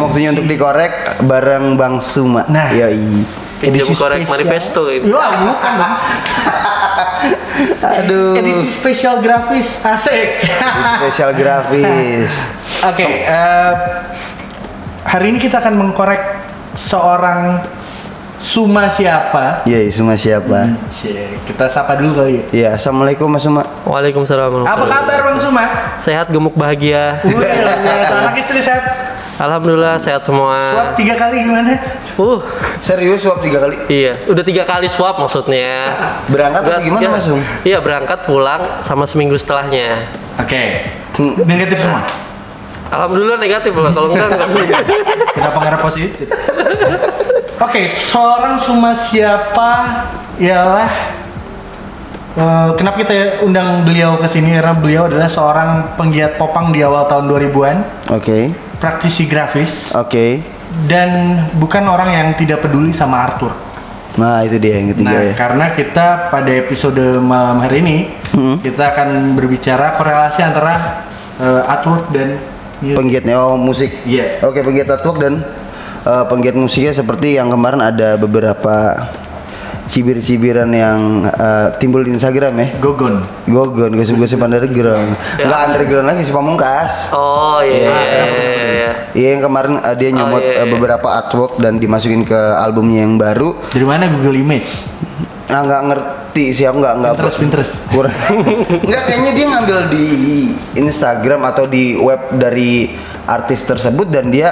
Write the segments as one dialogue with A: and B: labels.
A: waktunya untuk dikorek bareng Bang Suma.
B: Nah.
A: Yoi.
C: Pinjam
B: Edisi
C: korek
B: spesial.
C: manifesto
A: gitu.
C: ini.
B: Wah, bukan bang.
A: Aduh.
B: Edisi spesial grafis asik.
A: Spesial grafis.
B: Oke, eh, hari ini kita akan mengkorek seorang Suma siapa?
A: Yoi, Suma siapa?
B: Cie, Kita sapa dulu kali ya.
A: Ya, Assalamualaikum Mas Suma.
C: Waalaikumsalam.
B: Apa kabar Bang Suma?
C: Sehat gemuk bahagia.
B: Wih, anak istri sehat.
C: Alhamdulillah sehat
B: Swab
C: semua.
B: tiga kali gimana?
C: Uh,
A: Serius swab tiga kali?
C: iya. Udah tiga kali swab maksudnya.
A: Berangkat atau
C: Berangkat-
A: gimana
C: iya.
A: Mas Sum?
C: Iya berangkat pulang sama seminggu setelahnya.
B: Oke. Negatif semua.
C: Alhamdulillah negatif lah. Kalau enggak enggak.
B: Kenapa nggak ada positif? Oke, seorang Suma siapa ialah eh, kenapa kita undang beliau ke sini karena beliau adalah seorang penggiat popang di awal tahun 2000-an,
A: Oke.
B: praktisi grafis
A: Oke.
B: dan bukan orang yang tidak peduli sama Arthur.
A: Nah, itu dia yang ketiga
B: Nah,
A: ya.
B: karena kita pada episode malam hari ini kita akan berbicara korelasi antara eh, artwork dan
A: Penggiatnya oh musik.
B: Iya.
A: Oke, penggiat artwork dan eh, penggiat musiknya seperti yang kemarin ada beberapa cibir-cibiran yang eh, timbul di Instagram ya.
B: Gogon.
A: Gogon, gosip-gosip underground. Enggak underground lagi si Pamungkas.
C: Oh iya. iya, iya, iya.
A: Iya yang kemarin eh, dia nyomot
C: iya,
A: eh,
C: iya.
A: beberapa artwork dan dimasukin ke albumnya yang baru.
B: Dari mana Google Image?
A: Nah nggak ngerti sih aku nggak nggak
B: Pinterest, Pinterest.
A: kurang. nggak kayaknya dia ngambil di Instagram atau di web dari artis tersebut dan dia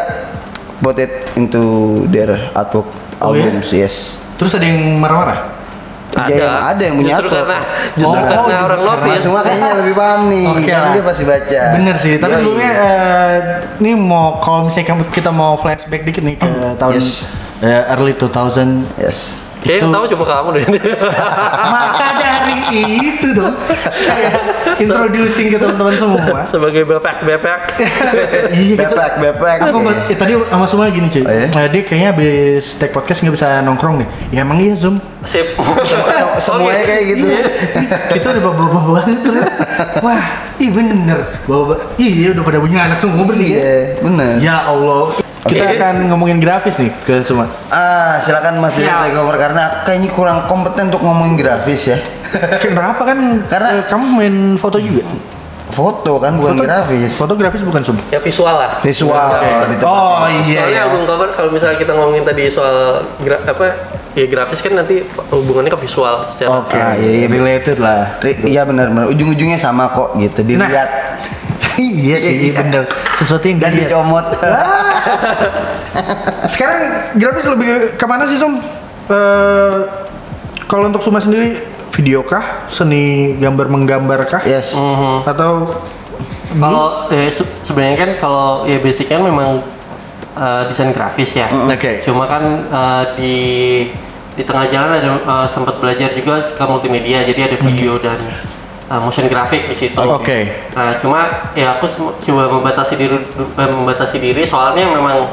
A: put it into their artwork
B: Oh, iya?
A: albums yes.
B: Terus ada yang marah-marah?
A: Ya, yang ada yang punya
C: justru
A: artwork.
C: karena justru
B: Oh,
C: karena
B: justru
C: orang
B: karena
C: notice.
A: Semua kayaknya lebih paham nih.
B: Oke
A: karena
B: lah.
A: kan dia pasti baca.
B: Bener sih, tapi
A: Yoi.
B: sebelumnya eh, ini mau kalau misalnya kamu- kita mau flashback dikit nih ke tahun
A: Oh, Yes.
B: eh, early 2000
A: yes.
C: Kayaknya
B: Itu-
C: yang tahu cuma kamu deh.
A: Ah,
B: Maka dari itu dong saya introducing ke teman-teman semua.
C: Sebagai bepek bepek.
B: Iya, kita-
A: Bepek, bepek.
B: Aku
A: Oke.
B: ba- eh, tadi sama semua gini cuy.
A: gitu. Oh, iya?
B: Eh, dia kayaknya habis take podcast nggak bisa nongkrong nih. Ya emang iya zoom.
C: Sip.
A: Se- semuanya
C: Oke.
A: kayak gitu.
C: Iya.
B: Kita udah bawa-bawa banget. terus. Wah, iya bener. Bawa iya udah pada punya anak semua bertiga.
A: Iya, bener.
B: Ya Allah. Kita akan ngomongin grafis nih ke semua.
A: Ah, silakan Mas Dede
B: Ya.
A: take over karena kayaknya kurang kompeten untuk ngomongin grafis ya.
B: Kenapa kan?
A: Karena-
B: eh, kamu main foto juga.
A: Foto kan bukan
B: Foto-
A: grafis.
B: Foto grafis bukan zoom.
C: Ya visual lah.
A: Visual. Gitu kan. di tempat-
B: Oh iya.
C: Soalnya
B: iya.
C: Agung Kabar kalau misalnya kita ngomongin tadi soal gra- apa ya grafis kan nanti hubungannya ke visual secara
B: Oke,
A: Ah, iya, iya.
B: related lah. Nah.
A: Ri- Iya benar-benar ujung-ujungnya sama kok gitu dilihat.
B: iya sih,
A: Iya.
B: bener. Sesuatu yang
A: Dan
B: dilihat. Ah.
A: dicomot.
B: Sekarang grafis lebih ke- kemana sih, Som? Eh, kalau untuk Suma sendiri, video kah? Seni gambar menggambar kah?
A: yes.
C: Mhm.
B: Atau
C: Kalau eh, se- sebenarnya kan kalau ya basicnya memang eh, desain grafis ya.
B: Oke.
C: Cuma kan eh, di di tengah jalan ada eh, sempat belajar juga ke multimedia, jadi ada video dan eh, motion grafik di situ.
B: Oke.
C: Nah, cuma ya aku sem- coba membatasi diri eh, membatasi diri soalnya memang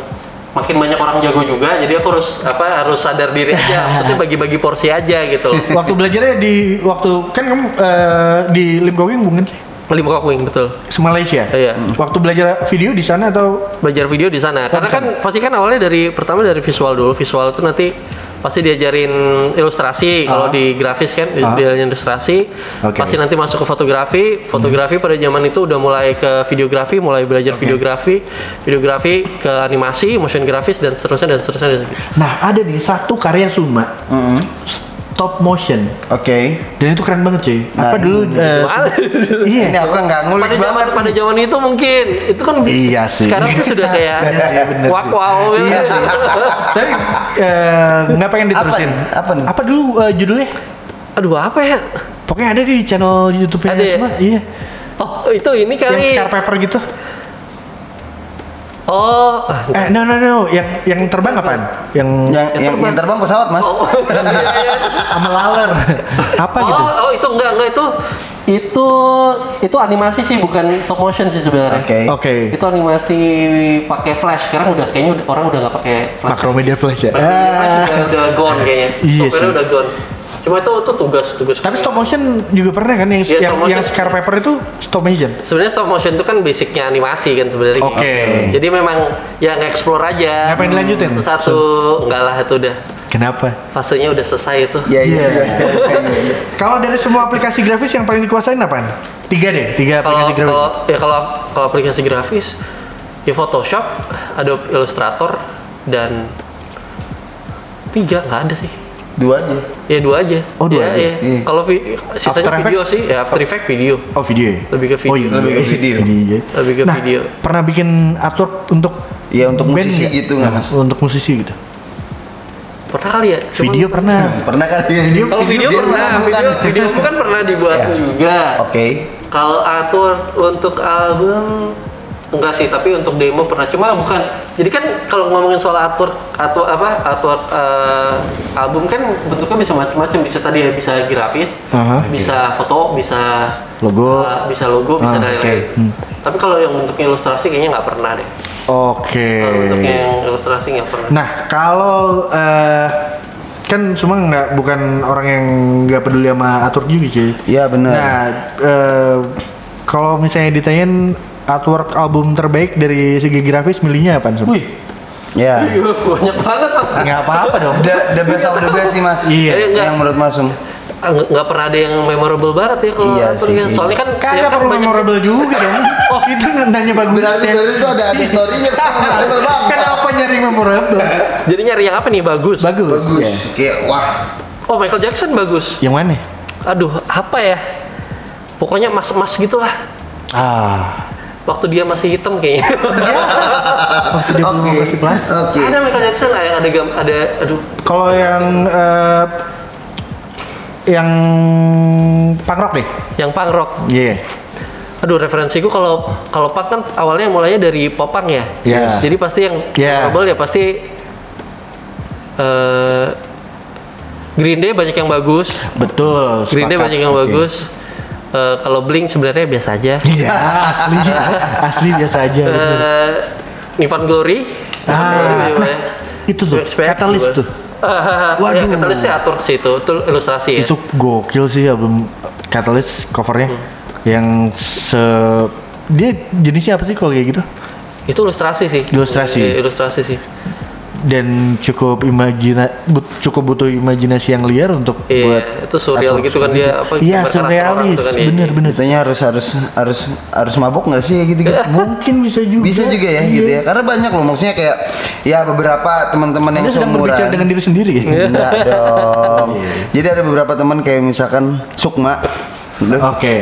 C: makin banyak orang jago juga, jadi aku harus apa harus sadar diri aja, maksudnya bagi-bagi porsi aja gitu. loh.
B: waktu belajarnya di waktu kan kamu eh, di Lim Gowing mungkin sih?
C: Lima kok wing betul.
B: Se Malaysia.
C: Iya.
B: Waktu belajar video di sana atau
C: belajar video di sana. Karena
B: di sana.
C: kan pasti kan awalnya dari pertama dari visual dulu. Visual itu nanti pasti diajarin ilustrasi kalau di grafis kan di- diajarin ilustrasi.
B: Ah. Oke.
C: Pasti nanti masuk ke fotografi. Fotografi pada zaman itu udah mulai ke videografi, mulai belajar videografi, videografi ke animasi, motion grafis dan seterusnya dan seterusnya. dan seterusnya.
B: Nah, ada nih satu karya Suma. Stop motion.
A: Oke.
B: Dan itu keren banget, cuy. Apa
A: Nah,
B: dulu
A: ini-
B: eh,
C: Wah,
B: Iya.
A: Ini aku nggak ngulik
C: pada zaman
A: banget.
C: pada zaman itu mungkin itu kan bi-
B: Iya sih.
C: sekarang tuh sudah kayak
B: Iya sih, bener sih.
C: wow wow gitu.
B: Iya sih. Tapi eh, nggak pengen
A: Apa
B: diterusin.
A: nih? Apa nih?
B: dulu eh, judulnya?
C: Aduh apa ya?
B: Pokoknya ada di channel YouTube-nya
C: Ada ya?
B: semua. Iya.
C: Oh itu ini
B: Yang
C: kali.
B: scar paper gitu.
C: Oh, ah,
B: Eh, no no no, yang yang terbang apaan? Yang
A: Yang yang, yang terbang pesawat mas.
B: sama laler. Apa
C: oh,
B: gitu?
C: oh itu enggak enggak itu itu itu animasi sih bukan stop motion sih sebenarnya.
A: Oke.
B: Oke.
C: Itu animasi pakai flash. Sekarang udah kayaknya udah- orang udah nggak pakai flash.
B: Macromedia flash ya.
C: Macromedia flash udah, udah gone kayaknya.
B: Iya
C: Software
B: sih.
C: udah gone. Cuma itu tuh tugas-tugas.
B: Tapi
C: gue.
B: stop motion juga pernah kan yang
C: Iya,
B: yang,
C: stop motion.
B: yang scar paper itu stop motion.
C: Sebenarnya stop motion itu kan basicnya animasi kan sebenarnya.
B: Oke.
C: Jadi memang yang explore aja.
B: Ngapain dilanjutin?
C: Itu Satu enggak lah itu udah
B: Kenapa?
C: fasenya udah selesai itu.
A: Iya iya
B: Iya.
A: iya. iya, iya.
B: Kalau dari semua aplikasi grafis yang paling dikuasain apaan? Tiga deh, tiga
C: Kalau
B: aplikasi grafis.
C: kalau ya kalau kalau aplikasi grafis ya Photoshop, Adobe Illustrator dan tiga nggak ada sih.
A: Dua aja.
C: Ya dua aja.
B: Oh, dua
C: ya,
B: aja.
C: ya.
A: Iya.
C: Kalau vi sisanya
B: After
C: video sih, ya After Effect video.
B: Oh video ya?
C: Lebih ke video.
B: Oh, iya,
A: Lebih ke video.
B: Video.
C: Lebih ke
B: nah,
C: video.
B: pernah bikin artwork untuk
A: Iya, untuk
B: band
A: musisi gitu nggak, Mas?
B: Untuk musisi gitu.
C: Pernah kali ya? Cuman-
B: video pernah.
A: Pernah kali ya?
C: Kalau video,
A: Dia
C: pernah,
A: melakukan.
C: video video kamu kan pernah dibuat
A: Iya.
C: juga.
A: Oke.
C: Kalau atur untuk album enggak sih, tapi untuk demo pernah. Cuma bukan. Jadi kan kalau ngomongin soal atur atau apa atur eh, album kan bentuknya bisa macam-macam. Bisa tadi ya bisa grafis,
B: Aha.
C: bisa foto, bisa
B: Logo.
C: eh, bisa logo, bisa
B: Ah,
C: dari
A: oke.
C: Tapi kalau yang bentuknya ilustrasi kayaknya nggak pernah deh.
B: Oke.
C: Kalau bentuknya yang ilustrasi nggak pernah.
B: Nah, kalau eh, kan semua nggak bukan orang yang nggak peduli sama artwork juga cuy.
A: Iya benar.
B: Nah, eh, kalau misalnya ditanyain artwork album terbaik dari segi grafis milihnya apaan Sob?
A: Ya.
C: Banyak banget Mas.
B: Nggak apa-apa dong.
A: The, the best of the best sih Mas.
B: Iya.
A: Eh, enggak. Yang menurut Masum.
C: Ah, nggak nggak pernah ada yang memorable banget ya kalau
A: Iya
C: atur
A: sih,
C: kan.
A: iya.
C: soalnya kan ya
B: Kagak
C: kan
B: perlu
C: banyak-
B: memorable juga dong. Oh, itu nanya
A: Berarti
B: bagusnya.
A: berarti itu ada ada story-nya. Bener banget.
B: Kenapa nyari memorable?
C: jadi nyari yang apa nih bagus
B: Bagus. Ya.
A: Bagus. Kayak wah.
C: oh Michael Jackson bagus
B: Yang mana?
C: aduh apa ya pokoknya mas mas gitulah
B: Ah.
C: waktu dia masih hitam kayaknya
B: Waktu Oh, dia belum
A: Oke.
B: operasi plastik.
A: Oke.
C: ada Michael Jackson ada ada, gam- ada aduh
B: Kalau yang eh, yang punk rock deh.
C: yang punk rock
B: Iya.
C: aduh referensiku kalau kalau punk kan awalnya mulainya dari popang ya
B: Yes.
C: jadi pasti yang
B: Yeah.
C: memorable ya pasti eh Green Day banyak yang bagus
B: Betul.
C: Green Day
B: sepakat.
C: banyak yang
B: Oke.
C: bagus. Eh, kalau Blink sebenarnya biasa aja.
B: Iya, asli asli biasa aja. bener.
C: Eh, Nippon Glory.
B: Ah,
C: Nippon Glory,
B: nah, itu tuh
C: Respect
B: katalis
C: juga.
B: tuh.
C: Ah,
B: Waduh.
C: Ya, katalisnya atur ke situ. Itu ilustrasi ya.
B: Itu gokil sih album Catalyst covernya
C: Hmm.
B: yang se dia jenisnya apa sih kalau kayak gitu?
C: Itu ilustrasi sih.
B: Ilustrasi.
C: Iya, ilustrasi sih.
B: Dan cukup imajina but- cukup butuh imajinasi yang liar untuk
C: Iya,
B: buat
C: itu surreal
B: artwork
C: gitu kan
B: seperti
C: dia,
B: itu.
C: apa,
B: Iya,
C: gambar karakter orang
B: surrealis.
C: tuh kan, iya.
B: bener bener.
A: Katanya harus harus harus harus mabok nggak sih ya gitu-gitu?
B: Mungkin bisa juga.
A: Bisa juga ya
B: Iya.
A: gitu ya. Karena banyak loh maksudnya kayak ya beberapa teman-teman yang
B: Anda sedang
A: seumuran.
B: berbicara dengan Iya. diri sendiri. ya?
C: Iya.
A: Enggak dong. Jadi ada beberapa teman kayak misalkan Sukma.
B: Oke.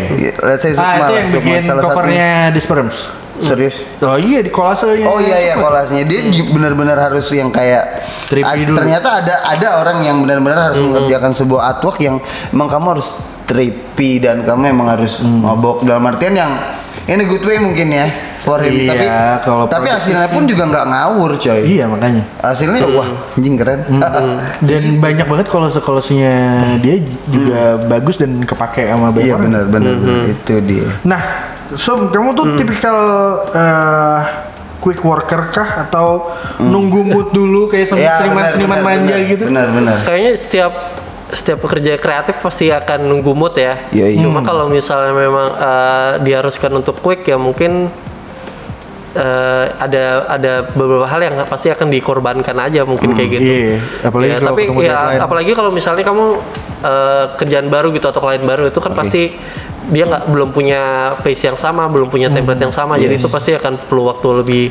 A: Let's say Sukma.
B: Ah, itu
A: lah,
B: yang
A: Sukma
B: bikin
A: salah satunya.
B: covernya Disperms.
A: Serius.
B: Oh iya Hmm. di kolasenya.
A: Oh iya iya kolasnya dia di- benar-benar harus yang kayak
B: Tripi
A: Ah,
B: dulu.
A: ternyata ada ada orang yang benar-benar
B: Hmm.
A: harus mengerjakan sebuah artwork yang emang kamu harus trippy dan kamu emang harus
B: Hmm.
A: mabok dalam artian yang in a good way mungkin ya for him
B: Iya,
A: tapi
B: kalau
A: tapi
B: produksi-
A: hasilnya pun juga nggak ngawur coy
B: Iya Hmm. makanya.
A: hasilnya wah anjing keren Iya.
B: Dan banyak banget kalau kolasinya dia juga bagus dan kepake sama banyak
A: Hmm. iya
B: orang.
A: benar benar benar. itu dia
B: Nah, Som, kamu tuh
C: Hmm.
B: tipikal eh, quick worker kah atau nunggu mood dulu kayak sama
A: Hmm. Iya,
B: seniman-seniman
A: benar,
B: manja
A: benar,
B: gitu?
A: benar benar
C: Kayaknya setiap setiap pekerja kreatif pasti akan nunggu mood ya.
A: Iya,
B: Hmm.
A: iya.
C: Cuma kalau misalnya memang eh, diharuskan untuk quick ya mungkin eh, ada ada beberapa hal yang pasti akan dikorbankan aja mungkin kayak gitu.
B: Iya, apalagi
C: Ya,
B: kalau
C: tapi
B: ketemu
C: ya,
B: deadline.
C: apalagi kalau misalnya kamu eh, kerjaan baru gitu atau klien baru itu kan pasti dia nggak belum punya pace yang sama, belum punya
B: Hmm.
C: template yang sama, jadi itu pasti akan perlu waktu lebih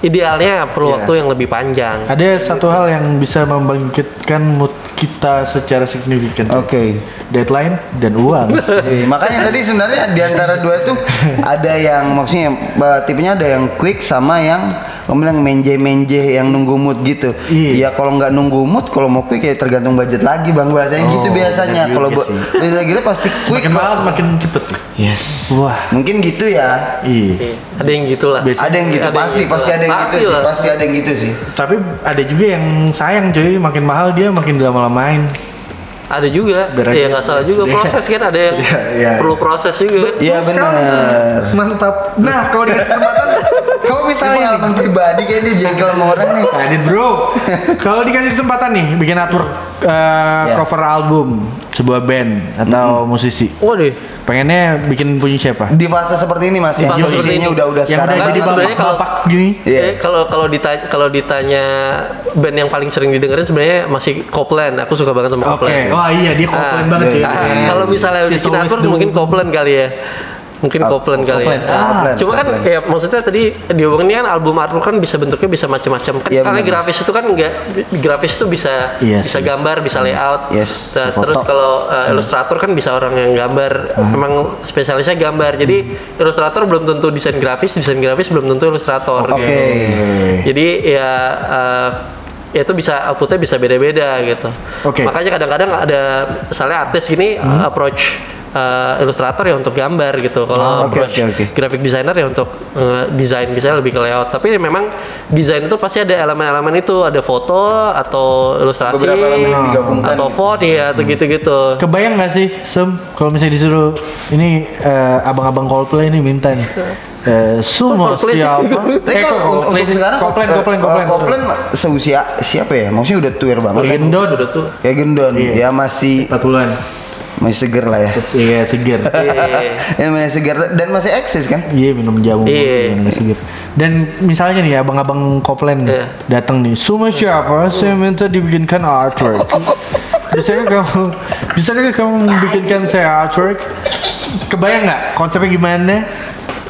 C: idealnya
B: Iya.
C: perlu waktu yang lebih panjang.
B: Ada satu hal yang bisa membangkitkan mood kita secara signifikan.
A: oke
B: Deadline dan uang.
A: Iya, makanya tadi sebenarnya di antara dua itu ada yang maksudnya eh, tipenya ada yang quick sama yang kamu bilang menje-menje yang nunggu mood gitu.
B: Iya.
A: Ya kalau nggak nunggu mood kalau mau quick ya tergantung budget lagi Bang bahasanya
C: Oh,
A: gitu biasanya.
B: benar
A: Kalau
B: juga
A: bu- budget gila pasti quick.
B: Makin
A: kok.
B: mahal semakin cepet.
A: Yes.
B: Wah.
A: Mungkin gitu ya.
B: Iya.
C: Iya, Ada yang gitulah.
B: Biasa-
A: Ada yang gitu
C: Ada yang
A: pasti
C: gitu
A: pasti
C: lah.
A: ada yang gitu
C: Pasti
A: sih.
C: lah.
A: Pasti ada yang gitu sih.
B: Tapi ada juga yang sayang cuy, makin mahal dia makin dilama-lamain.
C: Ada juga.
B: Biar
C: ya
B: aja
C: nggak salah juga
B: sudah.
C: proses kan ada yang
B: Sudah, ya.
C: perlu proses juga. kan.
A: Iya benar.
B: Mantap. Nah, kalau di kesempatan kamu
A: Ini
B: misalnya
A: pengalaman pribadi kayak dia jengkel sama orang nih.
B: Adit bro, kalau dikasih kesempatan nih bikin atur eh,
A: Ya.
B: cover album sebuah band atau musisi,
C: Waduh.
B: pengennya bikin punya siapa?
A: Di fase seperti ini Mas yang
C: fase seperti
A: solusinya
C: ini.
A: udah-udah
B: Yang
A: sekarang
B: udah jadi
A: banget.
C: sebenarnya
B: bapak,
C: kalau-
B: bapak gini.
A: Iya.
C: Eh, kalau kalau ditanya kalau ditanya band yang paling sering didengerin sebenarnya masih Copland. Aku suka banget sama
B: Oke,
C: Copland.
B: wah iya dia komplain
C: Ah,
B: banget cuy. Iya.
C: ah, kalau misalnya
B: She's
C: bikin
B: always
C: atur
B: the
C: mungkin
B: one.
C: Copland kali ya. Mungkin
A: Ah,
C: Copland kali
A: Copland,
C: ya.
A: ah, Copland,
C: Cuma kan
A: Copland.
C: ya maksudnya tadi dihubungin kan album artwork kan bisa bentuknya bisa macam-macam. Kan
A: Iya,
C: karena
A: benar,
C: grafis itu kan enggak grafis itu bisa
A: Iya sih.
C: bisa gambar, bisa layout.
A: Yes,
C: Nah,
A: bisa foto.
C: terus kalau uh,
A: Hmm.
C: ilustrator kan bisa orang yang gambar. Emang spesialisnya gambar. Jadi
A: Hmm.
C: ilustrator belum tentu desain grafis, desain grafis belum tentu ilustrator gitu.
A: Oke.
C: jadi ya eh, ya itu bisa outputnya bisa beda-beda gitu.
B: Oke.
C: Makanya kadang-kadang ada misalnya artis gini
A: Hmm.
C: approach eh, ilustrator ya untuk gambar gitu.
A: Ah,
C: Kalau
A: Oke,
C: approach
A: oke, oke.
C: graphic designer ya untuk eh, desain bisa lebih ke layout. Tapi memang desain itu pasti ada elemen-elemen itu ada foto atau ilustrasi
A: Beberapa elemen yang digabungkan
C: atau
A: gitu.
C: font ya
B: Hmm.
C: atau gitu-gitu.
B: Kebayang nggak sih, Sum? Kalau misalnya disuruh ini eh, abang-abang Coldplay ini minta nih. Eh, Sum mau
C: Coldplay sih.
B: siapa?
A: Tapi
B: Eh,
A: kalau untuk,
B: Coldplay
A: untuk
B: sih.
A: sekarang
B: Coldplay,
A: eh,
B: Coldplay,
A: eh,
B: Coldplay.
A: Coldplay seusia siapa ya? Maksudnya udah tuir banget.
C: Iya,
A: kan?
B: Gendon.
C: Udah tuh.
A: Ya gendon,
B: Iya.
A: ya masih
B: 4 bulan.
A: masih seger lah ya.
B: Iya, seger.
C: Iya.
A: ya masih seger dan masih eksis kan?
B: Iya minum jamu
C: Iya.
B: minum seger. Dan misalnya nih abang-abang koplen
C: Iya.
B: datang nih, semua siapa? Saya minta dibikinkan artwork. Bisakah kamu, bisakah kamu bikinkan saya artwork? Kebayang nggak konsepnya gimana?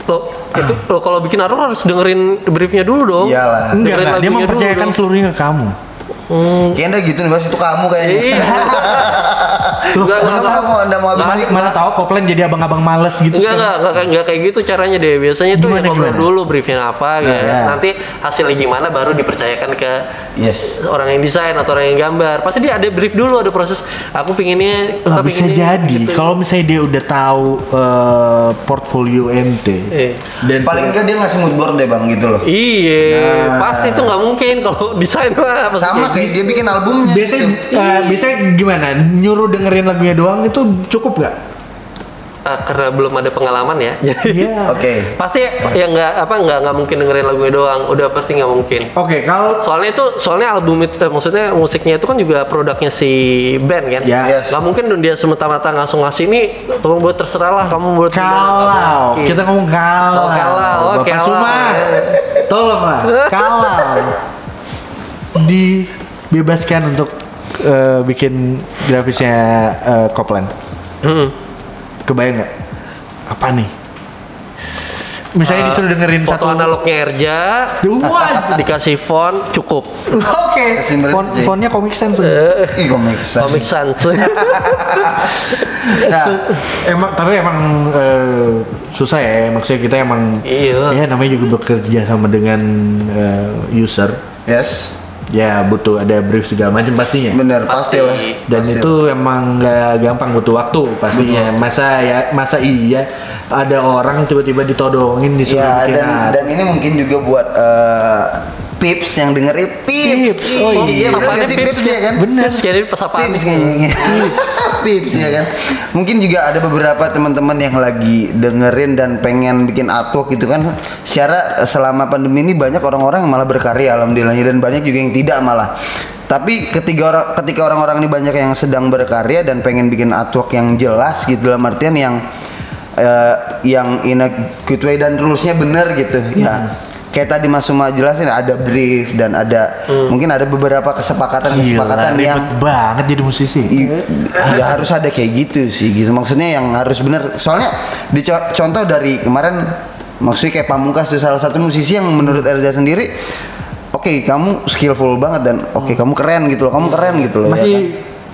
C: Lo itu lo kalau bikin artwork harus dengerin briefnya dulu dong.
B: Enggak
A: Iyalah.
B: lah,
C: Dengerin
B: dia
C: lagunya dulu
B: mempercayakan
C: dong.
B: seluruhnya ke kamu.
C: Hmm,
A: Kayaknya gitu nih Bas, itu kamu kayaknya.
C: Iya.
B: Loh,
C: Enggak,
A: Kamu
C: enggak,
A: kamu
C: enggak.
A: anda mau habis
B: Mana,
A: ini?
B: mana tahu koplen jadi abang-abang males gitu.
C: Enggak,
B: sekarang.
C: enggak, enggak, kayak- enggak kayak gitu caranya deh. Biasanya tuh
B: Gimana,
C: ya ngobrol
B: gimana?
C: dulu briefnya apa
A: Nah,
C: gitu.
A: ya.
B: Iya.
C: Nanti hasilnya gimana baru dipercayakan ke
A: Yes.
C: orang yang desain atau orang yang gambar. Pasti dia ada brief dulu, ada proses. Aku pinginnya
B: Lah
C: kita
B: bisa
C: pinginnya
B: jadi
C: gitu.
B: kalau misalnya dia udah tahu eh, portfolio MT
C: Iya.
B: dan
A: Paling enggak dia ngasih mood board deh bang gitu loh.
C: Iya, pasti itu nggak mungkin kalau desain mah pasti
A: Nah. Sama kayak dia bikin
C: Iya,
A: albumnya.
B: Iya. biasanya
A: gitu.
B: eh, biasanya gimana nyuruh dengerin lagunya doang itu cukup nggak
C: Ah, karena belum ada pengalaman ya. Jadi
B: iya
A: Oke.
C: pasti ya nggak apa nggak nggak mungkin dengerin lagunya doang. Udah pasti nggak mungkin.
B: oke kalau
C: soalnya itu soalnya album itu eh, maksudnya musiknya itu kan juga produknya si band kan
B: Ya.
A: Yes.
C: nggak mungkin dong dia semata-mata langsung ngasih ini kamu buat terserah lah kamu buat
B: kalau kita ngomong kalau
C: Oh, kalau, oh,
B: Bapak
C: kalau.
B: Suma tolong lah kalau dibebaskan untuk eh, bikin grafisnya eh, Copland
C: hmm.
B: kebayang nggak apa nih misalnya disuruh dengerin
C: Eh, foto
B: satu
C: analognya Erja
B: Wah,
C: dikasih font cukup
B: oke
A: Simperin
B: Font-
A: aja.
B: fontnya Comic Sans
A: Ih kok make sense.
C: Comic Sans
A: Nah,
B: Se- emang tapi emang eh, susah ya maksudnya kita emang
C: Iya.
B: ya namanya juga bekerja sama dengan eh, user
A: yes.
B: ya butuh ada brief segala macam pastinya
A: Bener
C: Pasti.
A: pasti lah.
B: dan
A: Pasti Ya,
B: itu emang nggak gampang butuh waktu pastinya masa ya masa iya ada orang tiba-tiba ditodongin disuruh
A: Ya
B: bikin
A: dan
B: art.
A: dan ini mungkin juga buat eh, Pips yang dengerin Pips.
B: Pips, oh
A: Ih,
B: iya.
A: iya. bener
C: Apanya
A: nggak sih
C: Pips?
A: Pips ya kan?
B: Bener.
C: Terus jadi pas apa
A: Pips kayaknya. Pips ya kan. Mungkin juga ada beberapa teman-teman yang lagi dengerin dan pengen bikin artwork gitu kan. Secara selama pandemi ini banyak orang-orang yang malah berkarya alhamdulillahnya dan banyak juga yang tidak malah. Tapi ketiga orang ketika orang-orang ini banyak yang sedang berkarya dan pengen bikin artwork yang jelas gitu dalam artian yang eh, yang in a good way dan rulesnya bener gitu ya kayak tadi Mas Suma jelasin ada brief dan ada mungkin ada beberapa kesepakatan kesepakatan
B: Gila,
A: yang Iya,
B: ribet banget jadi musisi
A: I- nggak harus ada kayak gitu sih gitu maksudnya yang harus bener soalnya di co- contoh dari kemarin maksudnya kayak pamungkas tuh salah satu musisi yang menurut Erza sendiri oke kamu skillful banget dan oke kamu keren gitu loh kamu keren gitu loh ya
B: masih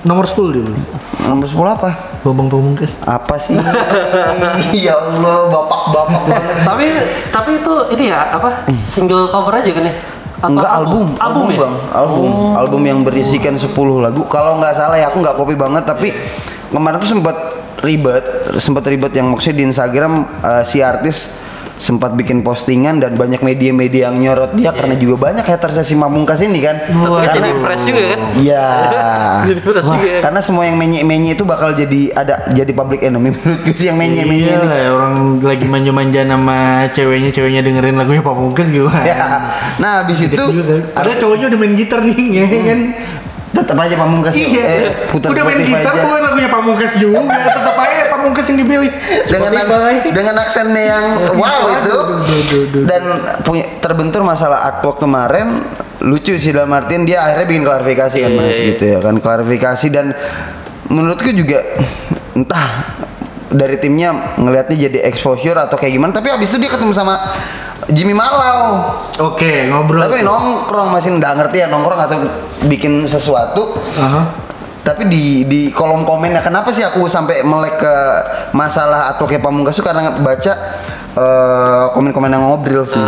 B: nomor 10 dia Bang.
A: kan. nomor 10 apa
B: Bambang Pamungkas
A: apa sih ya Allah bapak bapak banget
C: tapi tapi itu ini ya apa single cover aja kan ya Atau
A: Enggak album,
C: album, ya
A: bang, album, album yang berisikan 10 lagu. Kalau nggak salah ya aku nggak copy banget, tapi kemarin tuh sempat ribet, sempat ribet yang maksudnya di Instagram eh, si artis sempat bikin postingan dan banyak media-media yang nyorot dia karena juga banyak hatersnya si Mamungkas ini kan.
B: Wah,
C: Tapi jadi
A: Karena-
C: press juga kan?
A: Iya.
B: Ah.
C: jadi ya, press
A: Wah,
C: juga.
B: kan
A: karena semua yang menye-menye itu bakal jadi ada jadi public enemy menurutku sih yang
B: Iya
A: menye-menye ini.
B: lah, orang lagi manja-manja sama ceweknya, ceweknya dengerin lagunya gitu. Pamungkas gimana?
A: Ya. Nah, habis itu
B: Ada kan. cowoknya udah main gitar nih, ya kan?
A: tetap aja Pamungkas
B: Iya,
A: eh, putar
B: udah main
A: Spotify
B: gitar
A: aja.
B: bukan lagunya Pamungkas juga, tetap aja Pamungkas yang dipilih.
A: dengan ak-
B: Spotify.
A: dengan aksennya yang wow itu
B: Aduh, aduh, aduh.
A: dan punya terbentur masalah artwork kemarin lucu sih dalam artian dia akhirnya bikin klarifikasi kan mas
C: Iya.
A: gitu ya kan klarifikasi dan menurutku juga entah dari timnya ngelihatnya jadi exposure atau kayak gimana tapi habis itu dia ketemu sama Jimmy Malau
B: Oke, ngobrol.
A: tapi nongkrong masih nggak ngerti ya nongkrong atau bikin sesuatu
B: Aha.
A: tapi di di kolom komennya kenapa sih aku sampai melek ke masalah atau kayak pamungkas tuh karena baca eh, komen-komen yang ngobrol sih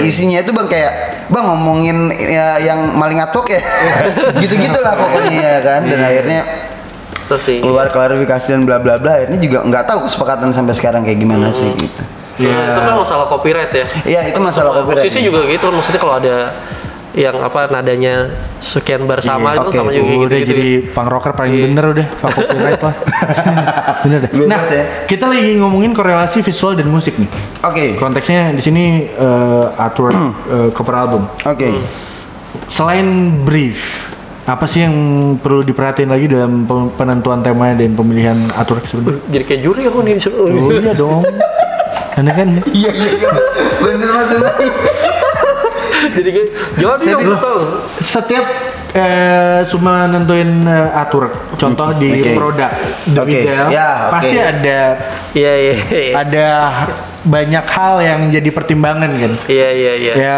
A: isinya itu bang kayak bang ngomongin ya, yang maling atok ya gitu gitulah pokoknya ya kan dan
C: Iya,
A: akhirnya
C: Itu gitu sih.
A: keluar klarifikasi dan bla bla bla akhirnya juga nggak tahu kesepakatan sampai sekarang kayak gimana sih
C: Hmm.
A: gitu
B: Iya.
C: Soalnya Itu kan masalah copyright ya.
A: Iya itu masalah copyright
C: Musisi juga gitu kan maksudnya kalau ada yang apa nadanya sekian bar sama itu
A: oke.
C: sama juga
B: Iya, Udah
C: gitu.
B: jadi punk rocker paling bener udah, fuck copyright lah. bener deh.
A: Bebas
B: Nah,
A: ya.
B: kita lagi ngomongin korelasi visual dan musik nih.
A: oke
B: Konteksnya di sini eh, artwork eh, cover album.
A: oke
C: Hmm.
B: Selain brief, apa sih yang perlu diperhatiin lagi dalam pe- penentuan tema dan pemilihan artwork sebenarnya?
C: ya. jadi kayak juri aku nih.
B: Oh iya dong. Karena kan
A: iya iya iya bener mas Umay.
C: Kan- jadi kayak jawab dong gitu.
A: Jadi-
C: betul.
B: setiap eh cuma nentuin eh, artwork. Contoh di
A: Oke.
B: produk, di
A: Oke.
B: retail,
A: Ya, oke.
B: pasti ada
C: Iya iya iya.
B: ada banyak hal yang jadi pertimbangan kan.
C: Iya iya iya.
B: Ya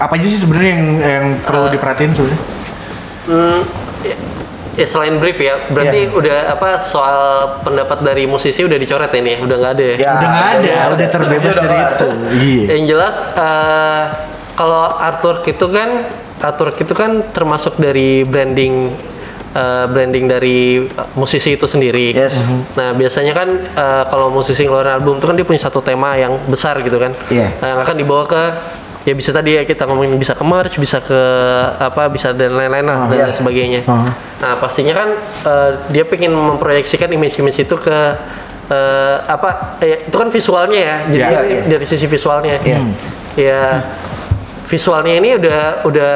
B: apa aja sih sebenarnya yang yang perlu diperhatiin sebenarnya?
C: Hmm, ya- ya selain brief ya, berarti
A: Iya.
C: udah apa soal pendapat dari musisi udah dicoret ini, ya? udah nggak ada ya.
A: Ya,
B: udah nggak ada,
A: nggak
B: udah terbebas
A: Udah
B: dari
A: kelar.
B: itu. Iya.
C: Yang jelas eh, kalau artwork itu kan artwork itu kan termasuk dari branding eh, branding dari eh, musisi itu sendiri.
A: Yes. Mm-hmm.
C: Nah biasanya kan eh, kalau musisi ngeluarin album itu kan dia punya satu tema yang besar gitu kan.
A: Iya.
C: Nah, yang akan dibawa ke ya bisa tadi ya kita ngomongin bisa ke merch, bisa ke apa, bisa dan lain-lain lah dan
A: Iya.
C: lain sebagainya.
B: Ah.
C: Nah pastinya kan eh, dia pengen memproyeksikan image-image itu ke eh, apa? eh, itu kan visualnya ya. Jadi
A: Iya, iya.
C: dari sisi visualnya.
A: Iya.
C: Ya visualnya ini udah udah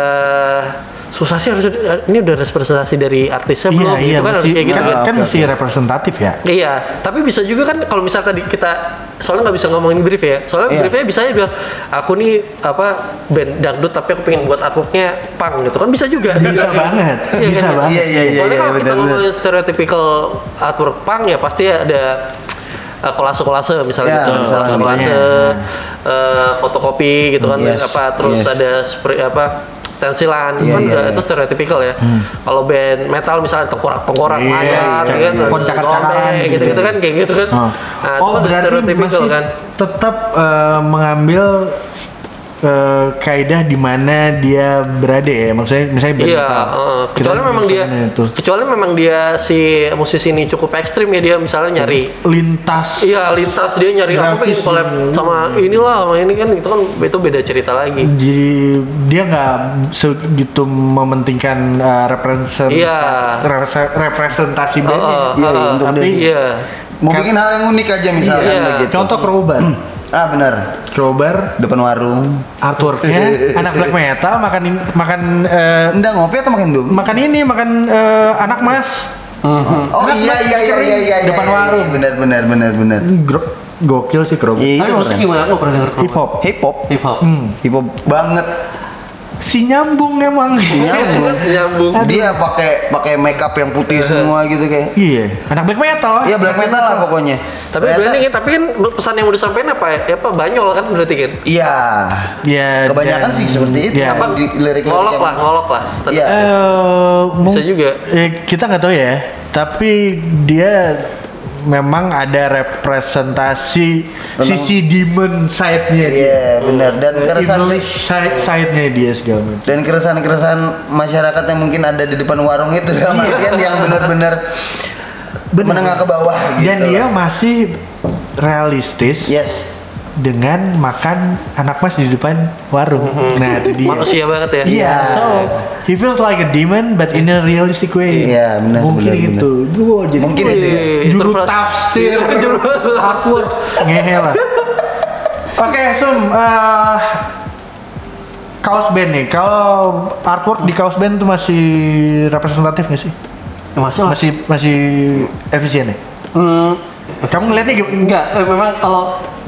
C: susah sih harus ini udah representasi dari artisnya
B: Iya,
C: belum
B: iya,
C: gitu kan harus
B: mesti,
C: kayak gitu
B: kan,
C: kan.
B: kan mesti representatif ya.
C: Iya, tapi bisa juga kan kalau misal tadi kita soalnya nggak bisa ngomongin brief ya. Soalnya
A: Iya.
C: briefnya bisa aja bilang aku nih apa band dangdut tapi aku pengen buat artworknya punk gitu kan bisa juga.
B: Bisa banget,
C: Iya
B: bisa
C: kan?
B: banget.
A: Iya iya iya.
C: Soalnya
A: iya,
C: kalau
A: benar,
C: kita
A: benar.
C: ngomongin stereotypical artwork punk ya pasti ada uh, kolase-kolase misalnya
A: Ya,
C: gitu,
A: misalnya,
C: kolase-kolase, uh, fotokopi gitu kan,
A: Yes,
C: apa terus
A: yes.
C: ada spray apa stensilan
A: Iya,
C: kan
A: iya,
C: juga
A: iya.
C: itu stereotypical ya. Kalau band metal misalnya tengkorak-tengkorak
B: Iya,
C: mayat,
B: iya,
C: ya
B: iya.
C: kan,
B: Koncak-koncakan
C: ngombe,
B: gitu
C: gitu-gitu
B: ya.
C: kan kayak gitu kan.
B: Oh,
C: Nah, itu
B: oh
C: kan udah
B: berarti
C: stereotypical
B: masih
C: kan.
B: tetap eh, mengambil eh, kaidah di mana dia berada ya. Maksudnya misalnya band
C: Iya,
B: metal.
C: heeh.
B: Kita
C: kecuali memang dia,
B: misalkan itu
C: kecuali memang dia si musisi ini cukup ekstrim ya dia misalnya nyari
B: lintas
C: Iya lintas dia nyari aku pengen
B: Grafis
C: collab
B: juga.
C: sama inilah sama ini kan itu kan itu beda cerita lagi.
B: jadi dia nggak segitu mementingkan eh, represent-
C: Iya.
B: rese- representasi
C: Oh,
B: bandnya.
C: oh,
A: Iya,
C: oh,
A: iya, untuk
C: tapi-
A: dia.
C: iya.
A: Mau bikin hal yang unik aja misalkan
C: Iya.
A: begitu.
B: Gitu. Contoh crowbar.
A: Ah benar.
B: crowbar
A: Depan warung.
B: artworknya ya? anak black metal makan makan eh,
A: Enggak ngopi atau makan dulu?
B: makan ini makan eh, anak mas
A: Oh
B: Enak,
A: iya
B: Mas,
A: iya iya
B: kering.
A: iya iya.
B: Depan
A: iya, iya,
B: warung.
A: Benar benar benar benar.
B: Gro- gokil sih Krobo
A: Iya
C: Tapi
A: itu
C: maksudnya
A: keren.
C: gimana? Aku pernah denger
B: hip hop
A: Hip hop.
C: Hip hop.
B: Hmm.
A: Hip hop banget.
B: si nyambung emang
A: Iya. Nyambung.
C: Iya, kan, Nyambung.
A: Dia pakai pakai makeup yang putih semua gitu kayak.
B: iya anak black metal
A: Ya black metal lah pokoknya.
C: Tapi
A: Ternyata-
C: berarti kan, tapi kan pesan yang udah disampaikan apa ya? Apa banyol kan berarti kan?
A: Iya.
B: ya
A: Kebanyakan
B: dan-
A: sih seperti itu.
B: ya.
A: Apa? Di lirik-lirik
C: Ngolok
A: yang-
C: lah, ngolok lah. Tapi-
A: Iya.
B: Eh, mung-
C: juga.
B: eh, kita nggak tahu ya tapi dia memang ada representasi sisi demon side-nya dia
A: Iya benar dan keresahan
B: Evilish side- side-nya dia segala macam
A: dan keresahan-keresahan masyarakat yang mungkin ada di depan warung itu dalam artian yang benar-benar
B: Benar.
A: menengah ke bawah gitu. Iya.
B: dan dia masih realistis
A: Yes.
B: dengan makan anak mas di depan warung. Nah, itu dia.
C: Mhm. Manusia banget ya.
B: Iya, so he feels like a demon but in a realistic way.
A: Iya, benar,
B: Mungkin
A: benar,
B: itu. Gua jadi
A: Mungkin
B: gua
A: itu ya.
B: jadi juru
C: Interpret-
B: tafsir, juru artwork ngehe lah. Oke, Sum, eh, kaos band nih. Kalau artwork di kaos band tuh masih representatif nggak sih?
C: Ya, masih lah.
B: Masih masih efisien ya?
C: Hmm,
B: Kamu ngeliatnya gimana?
C: enggak, eh, memang kalau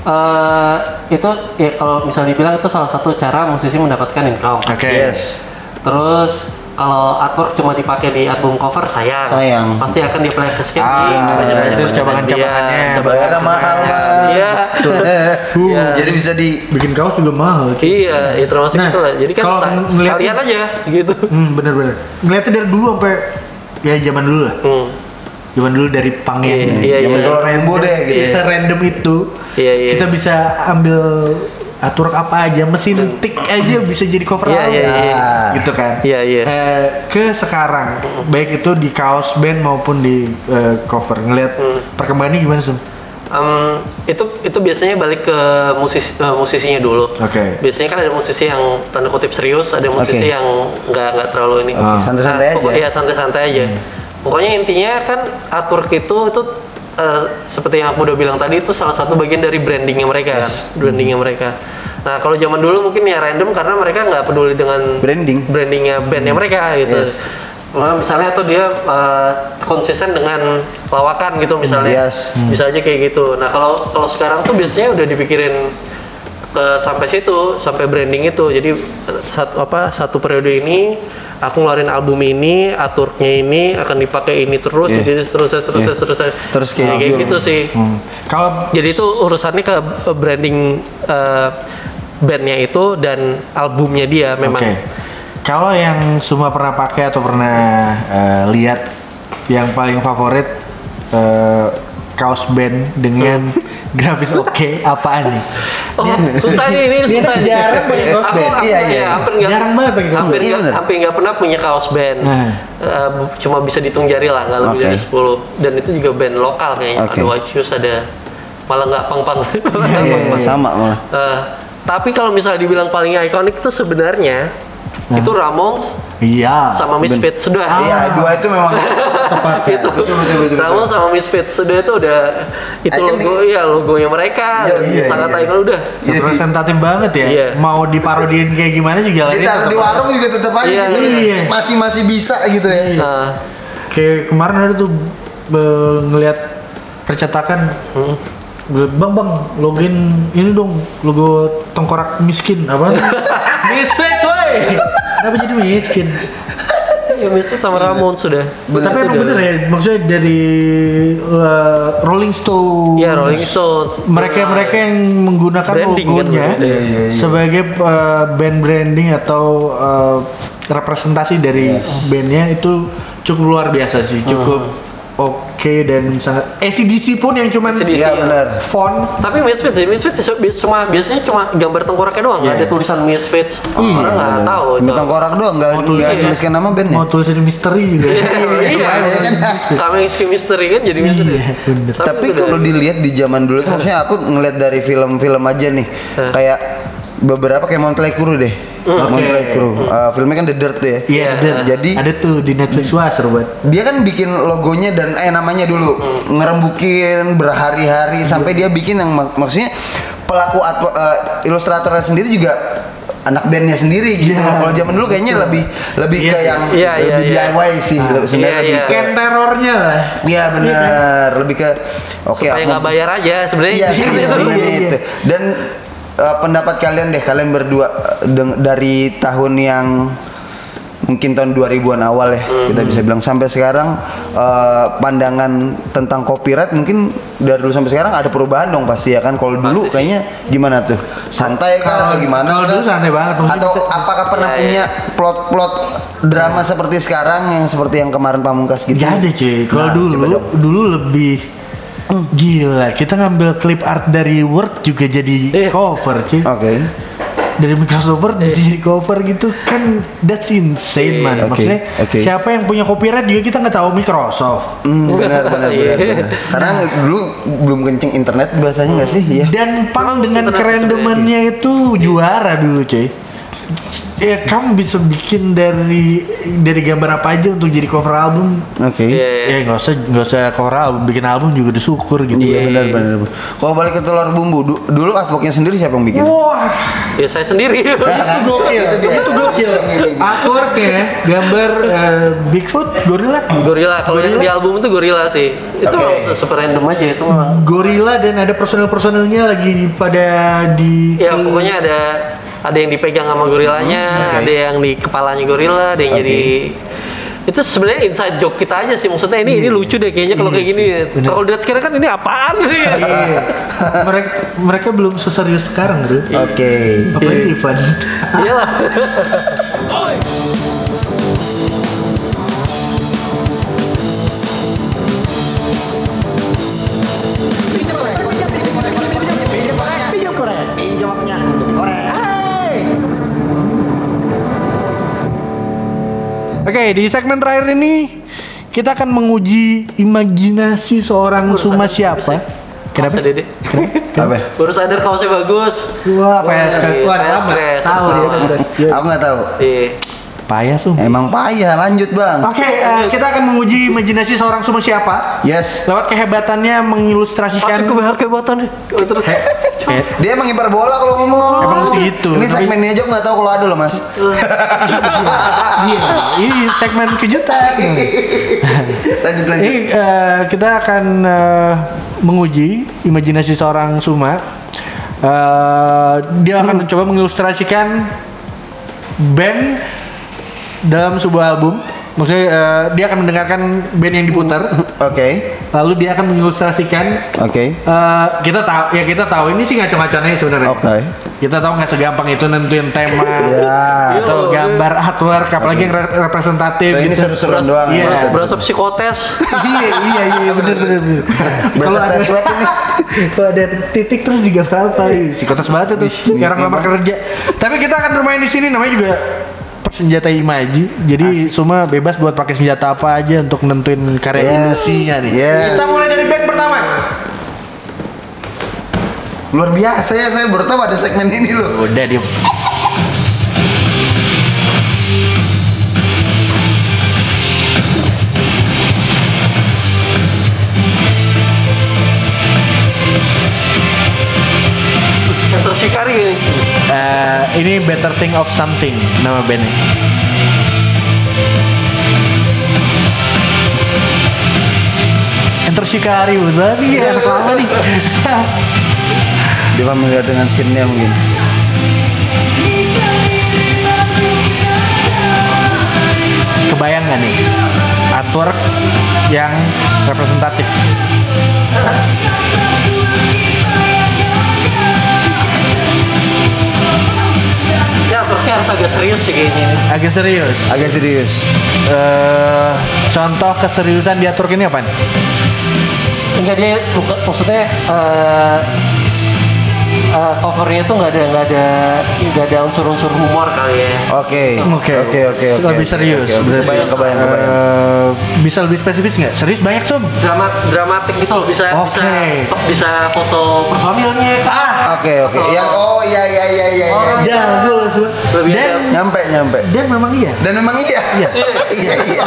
C: eh, itu ya kalau misalnya dibilang itu salah satu cara musisi mendapatkan income.
B: Oke.
A: Yes.
C: Terus kalau artwork cuma dipakai di album cover sayang.
A: Sayang.
C: Pasti akan di play di
B: Ah,
A: benar,
C: banyak-banyak
A: itu
B: cabangan-cabangannya.
C: Iya,
A: Bayarnya mahal mas.
C: Iya.
A: Iya. Jadi bisa di
B: Bikin kaos juga mahal. cuy.
C: Iya, ya termasuk
B: Nah,
C: itu lah. Jadi kan
B: kalau
C: sa-
B: ng- ngeliatin-
C: sekalian aja gitu.
B: Hmm, bener-bener. Ngeliatnya dari dulu sampai ya zaman dulu lah.
C: Hmm.
B: Zaman dulu dari pang yang
C: Iya, iya,
A: zaman
C: iya.
A: telur rainbow deh gitu.
C: Iya.
A: ya.
B: serandom itu.
C: Iya, iya.
B: Kita bisa ambil atur apa aja, mesin tik aja bisa jadi cover
C: Iya,
B: album.
C: iya, iya.
A: Ah.
B: Gitu kan.
C: Iya, iya.
B: Eh, ke sekarang, baik itu di kaos band maupun di eh, cover. Ngeliat
C: Hmm.
B: perkembangannya gimana, Sum?
C: Em, itu itu biasanya balik ke musisi eh, musisinya dulu.
B: Oke.
C: Biasanya kan ada musisi yang tanda kutip serius, ada musisi
A: Oke.
C: yang nggak nggak terlalu ini.
A: Oke, Ah. Hmm. santai-santai
C: Nah, pokok-
A: aja.
C: Iya santai-santai aja. Pokoknya intinya kan artwork itu itu eh, seperti yang aku udah bilang tadi itu salah satu bagian dari brandingnya mereka kan, brandingnya
A: Hmm.
C: mereka. Nah kalau zaman dulu mungkin ya random karena mereka nggak peduli dengan
A: Branding.
C: brandingnya bandnya
A: Hmm.
C: mereka gitu. Nah, misalnya atau dia eh, konsisten dengan lawakan gitu
A: Hmm.
C: misalnya.
A: Yes.
C: Bisa aja kayak gitu. Nah, kalau kalau sekarang tuh biasanya udah dipikirin ke sampai situ, sampai branding itu. Jadi eh, satu apa satu periode ini aku ngeluarin album ini, artworknya ini akan dipakai ini terus,
A: Iya.
C: jadi seterusnya seterusnya
A: Iya.
C: seterusnya.
A: Terus kayak
C: Nah, kayak
A: gitu.
C: gitu sih.
B: Hmm. Kalau
C: Jadi itu urusannya ke branding eh, bandnya itu dan albumnya dia memang.
B: Oke. Kalau yang semua pernah pakai atau pernah eh, lihat yang paling favorit eh, kaos band dengan
C: Hmm.
B: grafis oke apaan nih?
C: Oh, susah nih ini
B: Dia
C: susah.
B: kan jarang pakai kaos
C: Aku-
B: band.
C: aku-
A: Iya,
C: ya,
A: iya.
C: hampir nggak-
B: Jarang banget pakai kaos
C: hampir
A: band. Iya,
C: nggak-
A: bener.
C: hampir nggak pernah punya kaos band.
B: Nah.
C: Eh, bu- cuma bisa dihitung jari lah, nggak lebih
A: Oke.
C: dari 10. Dan itu juga band lokal kayaknya.
A: Oke.
C: Ada Wachius, ada malah nggak pang-pang. Malah nggak
A: Iya,
C: pang-pang.
A: sama malah.
C: Eh, tapi kalau misalnya dibilang paling ikonik itu sebenarnya
A: Nah.
C: itu Ramones
B: Iya. Ah,
C: sama Misfits sudah.
A: Iya, dua itu memang
B: Sepakat.
A: betul betul betul. betul.
C: Ramones sama Misfits sudah itu udah itu
A: Iconic.
C: logo ya logonya mereka
A: Iya, iya,
C: sangat
A: iya.
C: ikonik udah.
A: Iya,
B: Representatif banget ya.
C: Iya.
B: Mau diparodiin kayak gimana juga larinya
A: Ditaruh di
B: tetap-
A: warung juga tetap aja
C: Iya,
A: gitu.
B: iya.
A: Masih masih bisa gitu ya.
C: Nah,
B: Kayak kemarin ada tuh be- ngeliat percetakan
C: hmm.
B: Gue, Bang bang login ini dong logo tengkorak miskin apa? miskin woi. Kenapa jadi miskin?
C: ya Misfits sama Ramones sudah.
B: Tapi emang bener ya maksudnya dari uh, Rolling Iya, Stone.
C: Ya Rolling Stones.
B: Mereka mereka yang menggunakan
C: Branding kan
B: logonya
C: bener.
A: Iya, iya, iya.
B: sebagai uh, band branding atau uh, representasi dari bandnya itu cukup luar biasa sih, cukup oke dan sangat. ACDC pun yang cuman
C: AC/DC.
A: Iya
C: Iya.
A: benar.
B: font
C: Tapi ya, Misfits sih, Misfits sih cuma biasanya cuma gambar tengkoraknya doang, nggak
B: Iya.
C: ada tulisan Misfits.
A: Iya,
C: Orang nggak
A: Benar.
C: tahu. itu.
A: Bintang korak doang nggak nggak nuliskan nama ya. bandnya.
B: mau tulisin misteri juga.
C: Iya,
A: iya, kan?
C: Kami Skin Misteri kan jadi misteri.
B: Iya, bener.
A: Tapi
C: itu
A: kalau
C: dari-
A: dilihat di zaman dulu, tuh, maksudnya aku ngeliat dari film-film aja nih, kayak beberapa kayak Montlake Crew deh. Montlake Crew, Eh, filmnya kan The Dirt tuh ya.
B: Iya, ada,
A: Jadi
B: ada tuh di Netflix wah seru banget.
A: dia kan bikin logonya dan eh namanya dulu
C: Hmm.
A: ngerembukin berhari-hari sampai dia bikin yang mak- maksudnya pelaku atau ilustratornya sendiri juga anak bandnya sendiri gitu.
B: Iya.
A: Kalau zaman dulu kayaknya lebih lebih
B: Iya
A: ke
B: sih.
A: yang
C: Iya,
A: lebih
C: iya, iya.
A: DIY sih sebenarnya.
C: Iya,
A: lebih
C: iya.
A: ke-
B: Ken terornya lah.
A: Iya benar, lebih ke oke
C: supaya
A: aku-
C: nggak bayar aja sebenarnya.
A: Iya,
C: gitu.
A: iya, sebenarnya
B: Iya.
A: itu. Dan eh, pendapat kalian deh, kalian berdua eh, deng- dari tahun yang mungkin tahun 2000-an awal ya, kita bisa bilang sampai sekarang eh, pandangan tentang copyright mungkin dari dulu sampai sekarang ada perubahan dong pasti ya kan. Kalau dulu
C: Pasti sih.
A: kayaknya gimana tuh? Santai kah atau gimana?
B: kalau
A: kah?
B: dulu santai banget, maksudnya
A: Atau
B: bisa-
A: apakah pernah
C: Iya,
A: punya plot-plot drama seperti sekarang yang seperti yang kemarin Pamungkas gitu?
B: Gak Iya, ada cuy. Kalau
A: Nah,
B: dulu
A: coba dong.
B: dulu lebih
C: Hmm.
B: gila. Kita ngambil clip art dari Word juga jadi
C: Iya.
A: Oh.
B: cover cuy.
A: Oke.
B: dari Microsoft bisa jadi cover gitu kan that's insane man
A: Oke,
B: maksudnya
A: Iya. oke.
B: siapa yang punya copyright juga kita nggak tahu Microsoft
A: Hmm, benar benar
C: Iya.
A: benar. benar. Karena dulu belum kenceng internet bahasanya nggak sih? Iya.
B: dan
C: Memang
B: Pang dengan
C: internet
B: kerandomannya
C: gitu. Iya.
B: itu juara dulu cuy ya kamu bisa bikin dari dari gambar apa aja untuk jadi cover album
A: Oke.
C: Iya, iya.
B: ya nggak usah nggak usah cover album bikin album juga udah syukur gitu
A: Iya benar benar. Kalau balik ke telur bumbu, du- dulu asbaknya sendiri siapa yang bikin?
B: wah
C: Ya saya sendiri.
A: kan?
B: itu gokil
A: Itu dia. Iya,
B: itu gokil artworknya gambar eh, Bigfoot gorila
C: gorila kalau yang
B: Gorilla?
C: di album itu gorila sih. Itu
A: Oke.
C: memang super random aja itu memang.
B: gorila dan ada personil-personilnya lagi pada di
C: Ya pokoknya ada ada yang dipegang sama
B: Hmm,
C: gorilanya,
A: oke.
C: ada yang di kepalanya gorila, ada yang jadi itu sebenarnya inside joke kita aja sih maksudnya ini ini lucu deh kayaknya kalau kayak gini
B: Hmm. Iya bener.
C: kalau dilihat sekarang kan ini apaan nih
B: Iya. mereka mereka belum seserius sekarang bro
C: Iya.
A: Oke.
B: apalagi Ivan
C: iyalah
D: Pinjam korek, pinjam, pinjam korek, pinjam korek, pinjam korek, pinjam korek. Pinjam waktunya untuk dikorek. Hai.
B: oke di segmen terakhir ini kita akan menguji imajinasi seorang Suma siapa
C: Masa,
B: kenapa
C: Dede?
A: Apa?
C: baru sadar kaosnya bagus
B: Wah, payah sekali.
C: Wah,
B: Wah, lama.
C: stress,
B: Tahu dia.
C: lama.
B: Iya.
A: Aku nggak tahu.
C: Iya.
B: Payah Sum. Oke,
A: Emang payah. Lanjut bang.
B: eh, kita akan menguji imajinasi seorang Suma siapa
A: Yes.
B: lewat kehebatannya
C: masuk
B: mengilustrasikan
C: ke bahar kebatannya terus
B: Eh,
A: Dia emang ipar bola kalau ngomong.
B: Emang mesti gitu.
A: Ini
B: Tapi-
A: segmen ini aja aku nggak tahu kalau ada loh mas.
B: Iya, ini segmen kejutan.
A: lanjut lanjut.
B: Ini eh, kita akan eh, menguji imajinasi seorang Suma. Eh, dia akan mencoba mengilustrasikan band dalam sebuah album. Maksudnya eh, dia akan mendengarkan band yang diputar,
A: Oke.
B: lalu dia akan mengilustrasikan.
A: Oke.
B: eh, kita tahu ya kita tahu ini sih ngaco-ngaconya sebenarnya.
A: Oke.
B: Kita tahu nggak segampang itu nentuin tema
A: Ya.
B: atau gambar artwork, apalagi yang rep- representatif.
A: So Nah, ini
B: gitu.
A: seru-seruan doang.
B: Iya.
C: berasa,
A: ya.
C: berasa psikotes
B: iya iya iya bener bener bener.
A: Berasa tes swab ini.
B: kalau ada titik terus juga Iya, apa ih, Iya, psikotes banget itu
A: Ih,
B: sekarang lama
A: ngeri
B: kerja tapi kita akan bermain di sini namanya juga persenjata imaji jadi semua bebas buat pakai senjata apa aja untuk nentuin karya
A: Yes,
B: industrinya nih
A: yes.
B: kita mulai dari band pertama
A: Luar biasa ya saya baru tahu ada segmen ini loh.
B: udah diem
C: yang tersikari ini
B: Eh, ini better thing of something nama bandnya Enter Shikari, bos banget nih,
A: Iya.
B: anak lama nih.
A: Dia familiar dengan scene-nya mungkin.
B: kebayang gak nih artwork yang representatif
C: ya terusnya harus agak serius sih kayaknya
B: agak serius
A: Agak serius.
B: Eh, contoh keseriusan di artwork ini apa nih?
C: enggak dia buka- maksudnya eh eh, covernya tuh nggak ada nggak ada nggak ada unsur-unsur humor kali ya
A: Oke. Oh, Oke oke oke.
B: lebih serius
A: Oke, oke. Kebayang kebayang kebayang.
B: Eh, bisa lebih spesifik nggak? serius banyak sob
C: dramat dramatik gitu loh bisa
B: Oke.
C: bisa bisa foto personilnya ah
A: Oke oke. Yang oh iya iya iya iya. iya.
B: jago Sob.
C: Lebih
B: dan
A: Nyampe nyampe.
B: dan memang iya
A: Dan memang iya. Iya iya.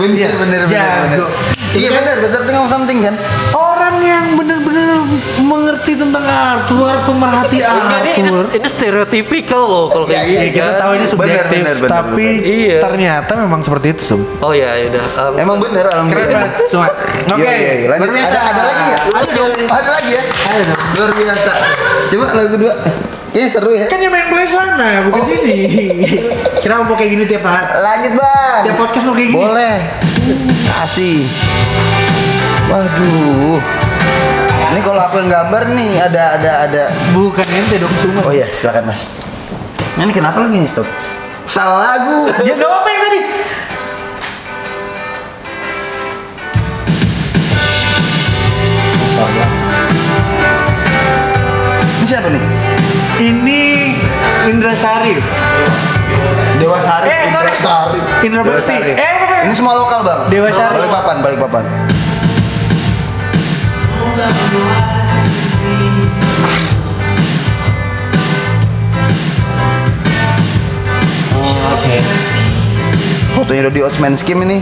A: Bener bener bener bener.
B: Jago.
A: Iya bener. Better think of something kan.
B: orang yang benar-benar mengerti tentang artwork pemerhati
C: Enggak, ini, ini,
B: artwork
C: ini stereotipikal loh kalau
A: Iya,
C: kayak
B: Ya,
A: iya,
C: gini
B: kita
C: kan.
B: tahu ini
A: Bener,
B: subjektif
A: bener, bener,
B: tapi
C: bener. Iya.
B: ternyata memang seperti itu Sob.
C: Oh ya, yaudah. Um,
A: Emang bener
B: Keren
A: alhamdulillah.
B: banget semua. Oke,
A: Iya, iya, iya. lanjut.
B: luar biasa.
A: Ada, ada lagi ya?
C: Ada dong.
A: Ada lagi ya?
B: Ada dong.
A: Luar biasa. Coba lagu dua. Ini seru ya.
B: Kan yang main play sana, bukan
A: Oh.
B: sini. Kira mau kayak gini tiap hari.
A: Lanjut bang.
B: Tiap podcast mau kayak gini.
A: Boleh. Kasih. Waduh. Ini kalau aku yang gambar nih ada ada ada.
B: Bukan ente dong cuma.
A: Oh iya, silakan mas. Ini kenapa lagi nih stop? Salah lagu.
B: Dia nggak apa yang tadi.
A: Ini siapa nih?
B: Ini Indra Sari.
A: Dewa Sari,
B: Eh, sorry.
A: Sari,
B: Indra
A: Dewa
B: Bekti.
A: Sari.
B: Eh, bukan.
A: ini semua lokal bang.
B: Dewa Sari.
A: Balik papan, balik papan.
B: Oke.
A: Fotonya udah di Otsman Skim ini.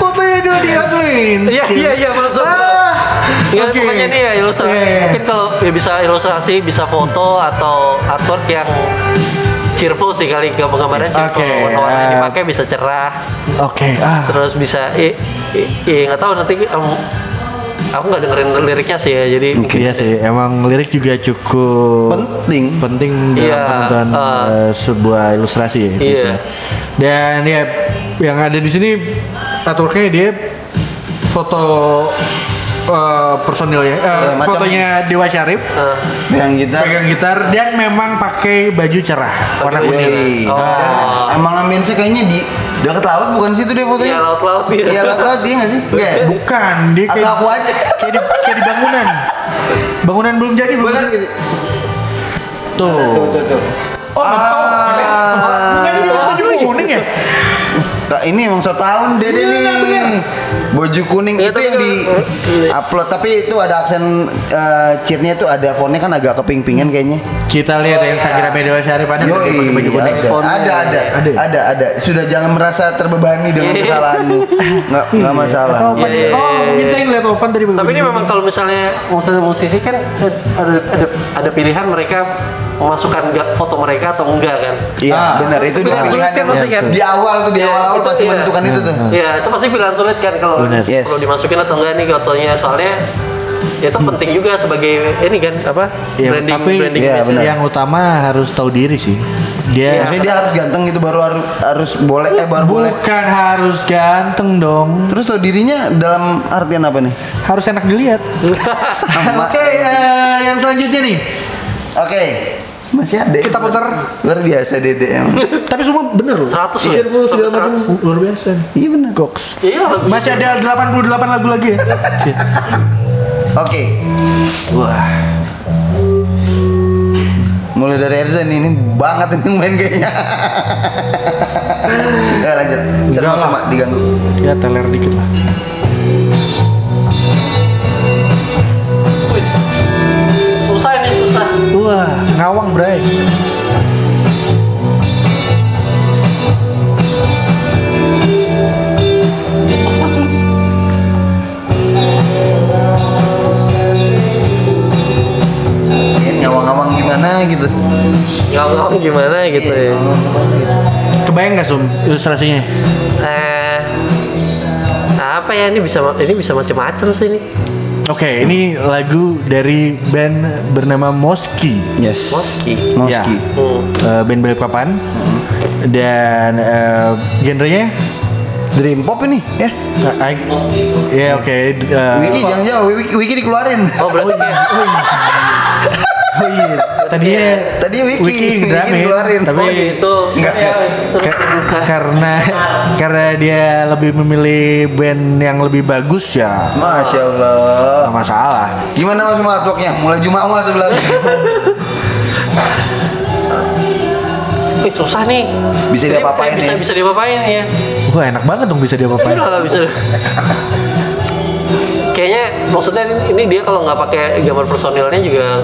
B: Fotonya dua di Asmin.
C: Iya iya iya maksud gua.
B: Ah,
C: Ya,
B: oke.
C: pokoknya nih ya ilustrasi.
B: Iya, iya.
C: Mungkin kalau ya bisa ilustrasi, bisa foto atau artwork yang cheerful sih kali gambar-gambarnya cheerful.
B: Oke,
C: Warna-warna yang
B: ya.
C: dipakai bisa cerah,
B: Oke. Ah.
C: terus bisa i i- i- nggak tahu nanti em, aku nggak dengerin liriknya sih ya. Jadi
B: Iya sih, emang lirik juga cukup
A: Penting.
B: penting dalam
C: Iya,
B: penentuan
C: eh.
B: eh, sebuah ilustrasi ya.
C: Iya.
B: Dan ya yang ada di sini artworknya dia foto eh, personilnya, eh,
A: Iya, macam-
B: fotonya Dewa Syarif
C: eh,
A: Yang kita.
B: pegang gitar dan memang pakai baju cerah warna
A: Iya.
C: Pakai
B: kuning.
A: Wih.
C: Oh.
A: Dan Emang ambience kayaknya di dekat laut bukan situ deh fotonya.
C: iya laut-laut gitu.
A: Iya laut laut dia nggak sih? Nggak. ya?
B: Bukan, dia
A: Atau
B: kayak,
A: aku aja.
B: kayak di, kayak di bangunan. Bangunan belum jadi belum.
A: Bener gitu.
B: kan Tuh.
A: Tuh tuh tuh.
B: Oh,
A: Ah.
B: Bukan Kan dia pakai baju
C: Iya.
B: kuning ya?
A: Tak, Nah, ini emang so tahun dede nih. Baju kuning itu yang di upload tapi itu ada aksen eh, cheer-nya itu ada fontnya kan agak keping-pingan kayaknya.
B: Kita lihat ya Instagramnya Dewa Syarif ada nggak dia
A: Yoi,
B: pakai baju kuning.
A: ada, ada, ada,
B: Ada ya?
A: ada, ada. Sudah jangan merasa terbebani dengan
C: Iya.
A: kesalahanmu. Nggak, nggak masalah.
B: Oh,
C: Iya, iya,
B: oh,
C: iya.
B: mungkin saya ngeliat Opan tadi pakai
C: Tapi
B: baju
C: ini
B: kuning.
C: memang kalau misalnya musisi musisi kan eh, ada ada, ada pilihan mereka memasukkan ga- foto mereka atau enggak kan?
A: Iya,
B: Ah.
A: benar. Itu
C: Tapi
A: dua
C: kan
A: pilihan
C: sulit kan,
A: yang
C: pasti kan?
A: di awal tuh di
C: Iya,
A: awal-awal
C: itu
A: pasti
C: iya.
A: menentukan itu tuh.
C: Iya, itu pasti pilihan sulit kan kalau
B: Benar.
A: Yes.
C: perlu dimasukin atau enggak nih fotonya soalnya ya itu penting juga sebagai ini kan apa
B: Ya,
C: branding
B: tapi
C: branding
A: Iya,
C: image.
A: benar.
B: yang utama harus tahu diri sih. Dia
A: Maksudnya dia harus ganteng gitu baru harus, harus boleh eh baru boleh.
B: bukan harus ganteng dong,
A: Terus tuh dirinya dalam artian apa nih?
B: harus enak dilihat.
A: Sama.
B: Oke, eh, yang selanjutnya nih.
A: Oke. Masih ada.
B: Kita puter.
A: Luar biasa DDM.
B: Tapi semua bener loh.
C: 100
A: Iya.
C: ya.
B: segala
C: Sampai
B: macam
C: 100.
B: luar biasa.
A: Iya benar.
B: Goks.
C: Iya, lebih.
B: Masih ada 88 lagu lagi ya.
A: Oke.
B: Wah.
A: Mulai dari Erzan ini banget ini main kayaknya. ya lanjut.
B: Enggak lah.
A: Sama-sama diganggu.
B: Ya teler dikit lah.
C: Wih. susah ini susah.
B: Wah, ngawang bray.
A: Ini ngawang-ngawang gimana gitu.
C: Ngomong Ya gimana gitu ya.
A: Ngawang-ngawang gitu.
B: Kebayang nggak sum ilustrasinya?
C: Eh apa ya ini bisa ini bisa macam-macam sih ini.
B: Oke, ini lagu dari band bernama Moski.
A: Yes.
C: Moski.
A: Moski.
B: Ya.
C: Hmm.
B: Eh, band Balikpapan dan eh, genrenya
A: Dream pop ini ya.
B: eh, I- ya oke eh,
A: Wiki ya? jangan jauh, Wiki, Wiki dikeluarin.
C: Oh berarti kayak-
B: oh iya, tadinya
A: Tadi Wiki,
B: Wiki
A: Wiki
B: drama ya,
A: dikeluarin.
B: tapi
C: oh gitu.
A: Enggak,
C: Ya,
A: enggak.
C: seru
B: ke-
C: terbuka.
B: karena karena dia lebih memilih band yang lebih bagus ya
A: Masya Allah.
B: nggak masalah
A: Gimana mas semua artworknya? Mulai Jumawa sebelah.
C: Ih, susah nih.
A: Bisa
C: Jadi
A: diapa-apain
C: Bisa
A: nih.
C: bisa diapa-apain ya.
B: wah enak banget dong bisa dia
C: Aduh, nggak bisa. Kayaknya maksudnya ini- ini dia kalau nggak pakai gambar personilnya juga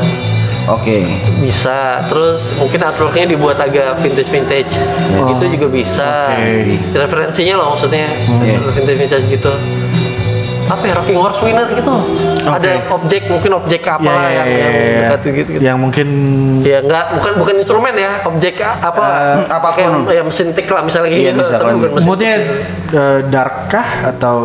A: Oke.
C: bisa. Terus mungkin artworknya dibuat agak vintage vintage. Itu juga bisa.
B: Oke.
C: Referensinya loh maksudnya
A: Iya.
C: vintage vintage gitu. Apa ya Rocking Horse Winner gitu loh.
B: Oke.
C: Ada objek mungkin objek apa
A: Iya,
B: ya, ya,
C: yang,
B: ya,
C: yang
B: ya,
C: dekat gitu. gitu.
B: yang mungkin
C: Ya enggak, bukan bukan instrumen ya, objek a- apa
A: Eh, apapun.
C: kayak, ya mesin tik lah misalnya
A: Iya,
C: gitu.
A: bisa,
C: tapi
A: kalau
C: bukan mesin
B: moodnya
C: tik.
B: eh, dark kah atau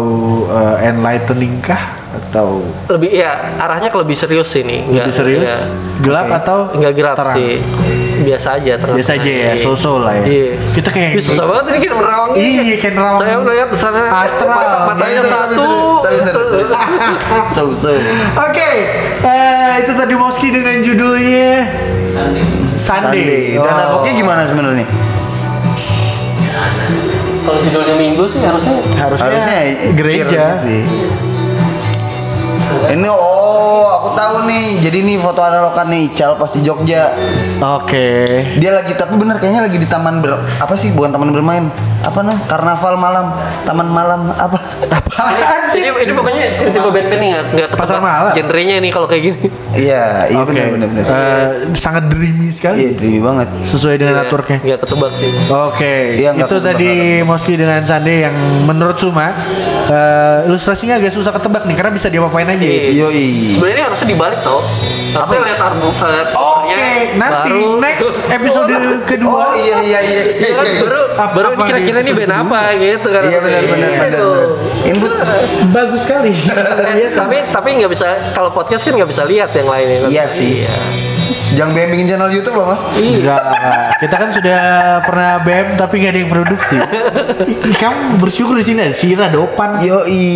B: eh, enlightening kah atau
C: lebih ya arahnya ke lebih serius sih ini. Enggak
B: lebih serius
C: Enggak,
B: gelap
A: Oke.
B: atau
C: enggak gelap
B: terang?
C: sih. Biasa aja tengah.
B: biasa aja ya
C: Iya.
B: so-so lah ya
C: Iya.
B: kita kayak
C: Ih, susah banget ini kayak merawang.
B: Iya, kayak merawang.
C: Saya melihat di sana
B: Astral. Iya,
C: patah-patahnya satu. Iya.
A: Tapi seru, tapi seru. So so.
B: Oke, eh, itu tadi Moski dengan judulnya Sunday. Oh.
A: Sunday. Dan artworknya gimana sebenarnya?
C: Kalau judulnya Minggu sih harusnya gitu
B: Harusnya,
A: Harusnya
B: gereja.
A: cheer gitu sih. Ini oh Oh, aku tahu nih. Jadi nih foto analogan nih Ical pas di Jogja.
B: Oke.
A: Dia lagi tapi bener kayaknya lagi di taman ber apa sih bukan taman bermain apa nah karnaval malam taman malam apa
B: Apaan sih?
C: Ini, ini pokoknya tipe-tipe band-band nih nggak nggak ketebak
B: Pasar malam.
C: Genrenya nih kalau kayak gini.
A: iya iya
B: Oke.
A: bener bener bener
B: Eh, sangat dreamy sekali.
A: iya dreamy banget
B: Sesuai
C: Iya.
B: dengan aturnya.
C: Nggak ketebak sih.
B: Oke,
A: Iya, nggak
B: itu
A: ketebak,
B: tadi Moski dengan Sande yang menurut Suma eh, ilustrasinya agak susah ketebak nih karena bisa diapain aja. ya.
C: Iya.
A: yoi
C: Sebenarnya ini harusnya dibalik tau. Tapi
A: Apa?
C: lihat album, eh, lihat
B: Oke,
C: covernya,
B: nanti
C: baru-
B: next episode kedua.
A: Iya. oh iya iya iya
C: Iya kan, baru
B: Apa-
C: baru
B: apa
C: kira-kira
B: nih?
C: ini band apa gitu kan.
A: iya bener bener
C: Gitu.
A: bener input
B: Bagus sekali. iya,
C: Eh, tapi tapi nggak bisa kalau podcast kan nggak bisa lihat yang lainnya. kan?
A: Iya sih.
C: Iya.
A: jangan BM bikin channel YouTube loh mas
B: Enggak, kita kan sudah pernah BM tapi nggak ada yang produksi. Kamu bersyukur di sini ada Sira Dopan.
A: yoi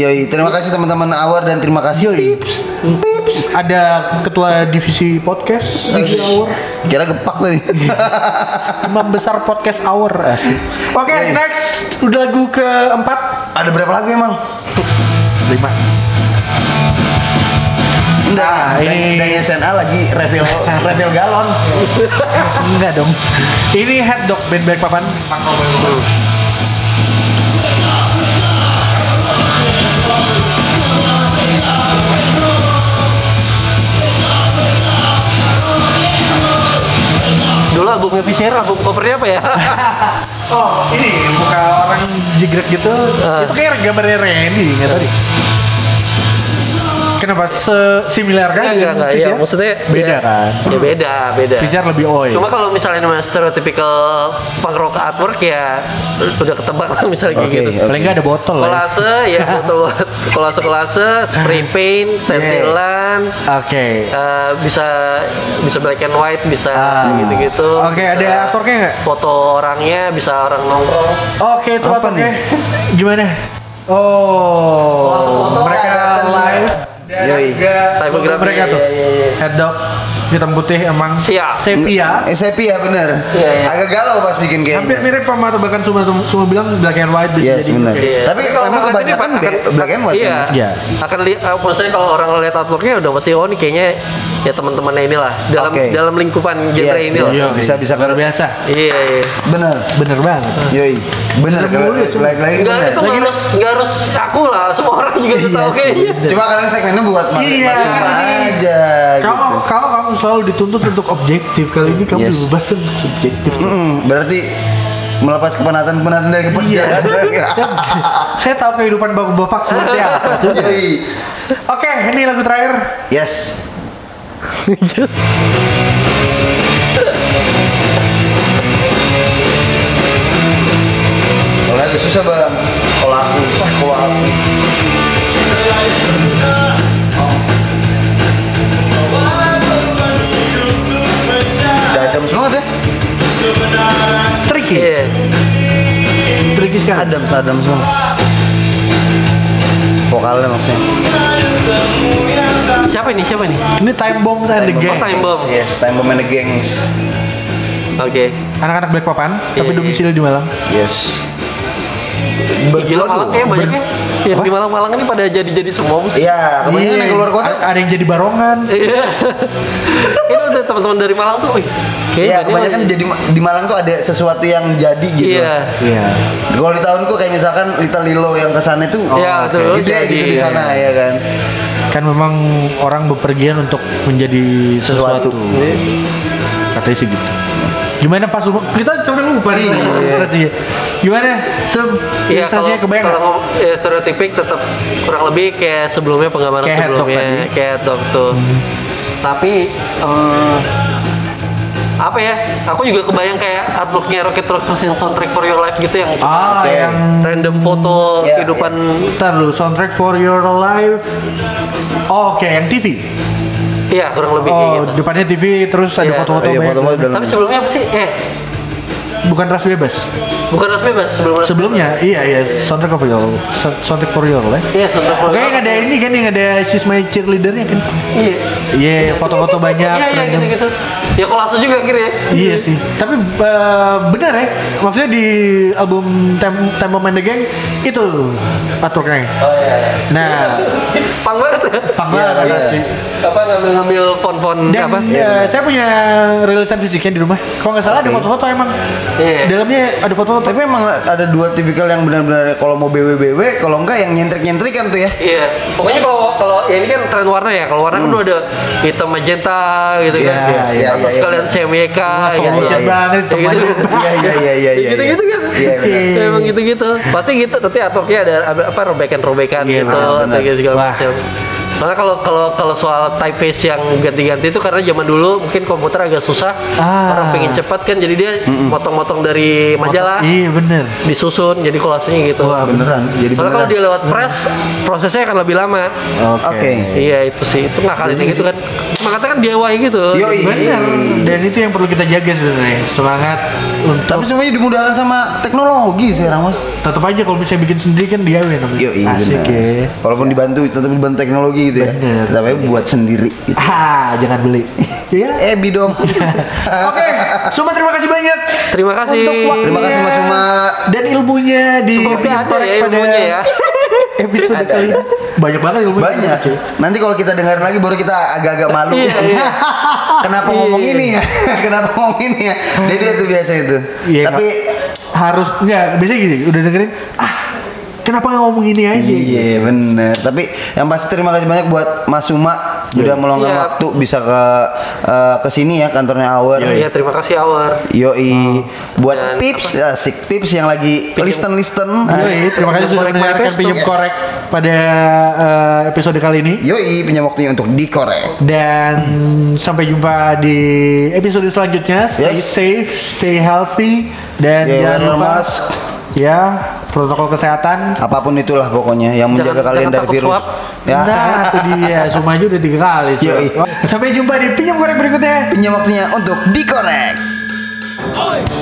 A: yoi terima kasih teman-teman awar dan terima kasih yoi
B: Ada ketua divisi podcast
A: Iya.
B: Digi Hour.
A: kira gepak tadi
B: Imam besar podcast hour asik. Oke,
A: Oke.
B: next udah lagu keempat
A: ada berapa lagu emang
B: lima.
A: Enggak,
B: Ah, ini-
A: ini dari SNA lagi refill refill galon.
B: Enggak dong. Ini head dog band back papan.
C: Dulu albumnya Fisher, album covernya apa ya?
B: Oh, ini muka orang jegrek gitu.
C: Ah.
B: Itu kayak gambarnya Randy nggak tadi. Kenapa se similar kan?
C: Enggak, enggak, enggak. Ya,
B: Fisher?
C: maksudnya
B: beda
C: ya,
B: kan?
C: Ya beda, beda.
B: Fisher iya. lebih oi.
C: Cuma kan kalau misalnya memang stereotypical punk rock artwork ya udah ketebak lah misalnya kayak
A: Oke,
C: gitu.
A: oke.
B: Paling nggak ada botol lah. ya.
C: Kolase ya betul kolase kolase spray paint,
B: Iya.
C: sentilan,
B: Oke.
C: eh, bisa bisa black and white, bisa
B: Ah.
C: gitu-gitu.
B: Oke,
C: Bisa
B: ada artworknya nggak?
C: Foto orangnya, bisa orang nongkrong.
B: Oke, itu
A: Apa
B: apa
A: nih?
B: Gimana? Oh,
C: Foto-foto
B: mereka
A: ada alasan
B: live.
A: ya.
B: Dan
A: Yoi.
B: juga
C: Tipografi,
B: mereka tuh.
C: iya, iya, iya.
B: Head dog hitam putih emang
C: Siap.
B: sepia.
A: Eh sepia bener.
C: Iya, iya.
A: Agak galau pas bikin gitu.
B: Hampir mirip
A: kayaknya.
B: sama tebakan Suma, Suma bilang black and white bisa
A: Iya, benar.
B: kayak-
C: Iya.
A: Tapi
C: kalau
A: emang
C: orang lihat ini
A: kebanyakan
C: akan-
A: black- black and white
C: Iya.
A: kan, Mas?
B: Iya.
C: Akan lihat uh, maksudnya kalau orang lihat artworknya udah pasti oh ini kayaknya ya teman-temannya inilah dalam
A: Oke.
C: dalam lingkupan genre
A: Yes,
C: ini lah.
A: yes.
B: Iya,
A: Bisa- bisa
B: luar
A: kalau-
B: biasa.
C: Iya, iya.
A: Bener.
B: Bener banget.
A: Yoi. Bener
B: ya,
A: kalau lagi
C: Enggak
A: bener.
C: itu nggak harus nggak harus aku lah, semua orang juga
B: Iya
C: tuh tahu
B: sih.
C: kayaknya.
A: Cuma kalian segmennya buat masing
B: Iya.
A: aja
B: Kalau
A: gitu.
B: kalau kamu selalu dituntut untuk objektif, kali ini kamu
A: Yes.
B: dibebaskan untuk subjektif.
A: Mm, berarti melepas kepenatan-kepenatan
B: Iya.
A: dari kepergian. Ah,
B: Saya tahu kehidupan bapak-bapak seperti apa. sudah.
A: Yoi.
B: Oke, ini lagu terakhir.
A: Yes. Kalau lagi susah bang, kalau aku susah, kalau aku Dadam semangat ya?
B: Tricky.
C: Iya.
B: Tricky sekali.
A: Adam, sadam semua. Vokalnya maksudnya.
C: Siapa ini? Siapa ini?
B: Ini time bombs and the gang.
C: Time Bomb.
A: Yes, time bomb and the gangs.
C: Oke.
B: Anak-anak black papan, tapi
C: Iya.
B: domisili di Malang.
A: Yes.
C: Gila Malang ya, kayaknya banyaknya yang
B: Apa?
C: Iya, di Malang-Malang ini pada jadi-jadi semua musik.
A: Iya, kebanyakan yang keluar kota.
B: A- Ada yang jadi barongan.
C: Iya. Ini udah teman-teman dari Malang tuh. wih,
A: Iya,
C: kayaknya bandnya
A: kebanyakan
C: lagi-
A: jadi di Malang tuh ada sesuatu yang jadi gitu.
C: Iya.
B: Iya.
A: Kalau di tahunku kayak misalkan Little Lilo yang kesana itu
C: Iya,
B: Oh,
A: oke.
C: betul.
A: gede
C: Jadi,
A: gitu di
C: iya,
A: sana ya kan.
B: Kan memang orang bepergian untuk menjadi sesuatu.
A: Sesuatu.
B: Iya. Katanya sih gitu. Gimana Pak Suma? Kita sampai lupa nih
A: Iya.
B: ilustrasinya. Gimana? Sum,
C: Iya,
B: ilustrasinya
C: kalau,
B: kebayang
C: kalau
B: nggak?
C: ngom- ya, stereotipik tetap kurang lebih kayak sebelumnya penggambaran
B: Kayak head dog
C: sebelumnya
B: tadi. Hmm.
C: kayak head dog tuh. Tapi em, apa ya? Aku juga kebayang kayak artworknya Rocket Rockers yang soundtrack for your life gitu yang
B: Ah,
A: Oke.
B: yang
C: random foto
A: Iya,
C: kehidupan
B: Ntar dulu, soundtrack for your life. Oh, Oke, yang TV.
C: iya kurang lebih kayak
B: Oh,
C: gitu.
B: depannya TV terus ada
C: Iya.
B: foto-foto
A: Iya,
B: banyak.
A: foto-foto dalam.
C: Tapi sebelumnya apa sih? Eh,
B: Bukan ras bebas.
C: bukan Ras Bebas sebelum Ras-
B: Sebelumnya, iya iya, soundtrack for your, soundtrack for your life.
C: Iya, soundtrack for your
B: Pokoknya yang ada
C: life.
B: ini kan yang ada she's my cheerleader kan.
C: Iya.
B: Iya, foto-foto banyak.
C: Iya, iya
B: random.
C: gitu-gitu. Ya kolase juga akhirnya.
B: Iya sih. Tapi eh, benar ya, maksudnya di album Tem Tempo Man The Gang itu artworknya.
C: Oh iya.
B: Nah,
C: Pang banget. ya.
B: pang
A: Iya,
B: banget
A: iya.
B: asli.
C: Apa ngambil-ngambil pon-pon
B: Dan
C: Iya, apa?
B: ya, saya punya rilisan fisiknya di rumah. Kalau nggak salah ada
A: Oke.
B: foto-foto emang.
C: Iya.
B: Dalamnya ada foto-foto.
A: Tapi emang ada dua tipikal yang benar-benar kalau mau BW-BW, kalau enggak yang nyentrik-nyentrikan tuh ya.
C: Iya, pokoknya kalau kalau ya ini kan tren warna ya. Kalau warna kan udah ada hitam magenta gitu
A: Hmm. Iya,
C: kan.
A: iya, iya,
C: Terus
A: iya,
C: kalian
A: iya.
C: CMYK
A: iya,
B: Solusi
A: iya, iya.
B: banget
C: Iya,
B: teman.
C: gitu.
A: Iya iya iya iya iya.
C: Gitu-gitu kan.
A: Iya benar.
B: Iya.
C: Emang gitu-gitu. Pasti gitu nanti atoknya ada apa- apa robekan-robekan
B: Iya,
C: gitu
A: benar,
C: atau
A: benar.
C: gitu segala
B: Wah.
C: macam. Soalnya kalau kalau kalau soal typeface yang ganti-ganti itu karena zaman dulu mungkin komputer agak susah,
B: Ah.
C: orang pengen cepat kan jadi dia motong-motong dari majalah
B: Iya bener.
C: disusun jadi kolasenya gitu.
B: Wah,
A: Ah, Beneran. Jadi
C: Soalnya
A: beneran.
C: kalau dia lewat press prosesnya akan lebih lama.
A: Oke.
C: Iya itu sih, itu ngakalinnya gitu kan. Makanya kan DIY gitu.
A: Yoi.
B: Bener. Dan itu yang perlu kita jaga sebenarnya. Semangat untuk
A: Tapi semuanya dimudahkan sama teknologi sekarang mas.
B: tetap aja kalau misalnya bikin sendiri kan dia namanya.
A: Yo iya
B: Asik ya.
A: Walaupun dibantu tetap dibantu teknologi gitu ya.
B: Bener.
A: Tapi buat sendiri. Eh, Gitu.
B: Ah, jangan beli. Iya.
A: Ebi dong.
B: Oke, Suma terima kasih banyak.
C: Terima kasih.
B: Untuk waktunya
C: Iya.
A: Terima kasih, Mas Suma.
B: Dan ilmunya di
C: Semoga
B: Bikin
C: ada ya
B: Korek
C: ilmunya ya.
B: episode
A: Ada,
B: kali ini. Banyak banget ilmunya.
A: Banyak. Nanti kalau kita dengar lagi baru kita agak-agak malu.
C: Iya, iya.
A: Kenapa ngomong ini ya? Kenapa ngomong ini ya? Dede tuh biasa itu.
B: Iya,
A: Tapi
B: harus nggak bisa gini, udah dengerin. Ah, kenapa nggak ngomong ini aja?
A: Iya bener. Tapi yang pasti terima kasih banyak buat Mas Suma udah meluangkan
C: Iya. Siap.
A: waktu bisa ke eh, ke sini ya kantornya Hour.
C: Iya terima kasih Awar.
A: Yoi. Buat
C: Dan
A: tips asik tips yang lagi listen listen.
B: Yoi, ya, terima kasih sudah
C: Korek
B: mendengarkan
C: manifesto.
B: pinjam
A: Yes.
B: korek pada eh, episode kali ini.
A: Yoi punya waktunya untuk dikorek.
B: Dan sampai jumpa di episode selanjutnya. Stay
A: Yes. Iya,
B: safe, stay healthy, dan
A: Yeah,
B: jangan
A: wear
B: lupa
A: mask.
B: ya protokol kesehatan.
A: Apapun itulah pokoknya yang menjaga
C: Jangan-
A: kalian
C: jangan
A: dari
C: takut
A: virus.
C: swab.
A: Ya.
B: Nah, itu dia. Cuma aja udah tiga kali. cuy.
A: Yoi.
B: Sampai jumpa di pinjam korek berikutnya.
A: Punya waktunya untuk dikorek.
D: Oi,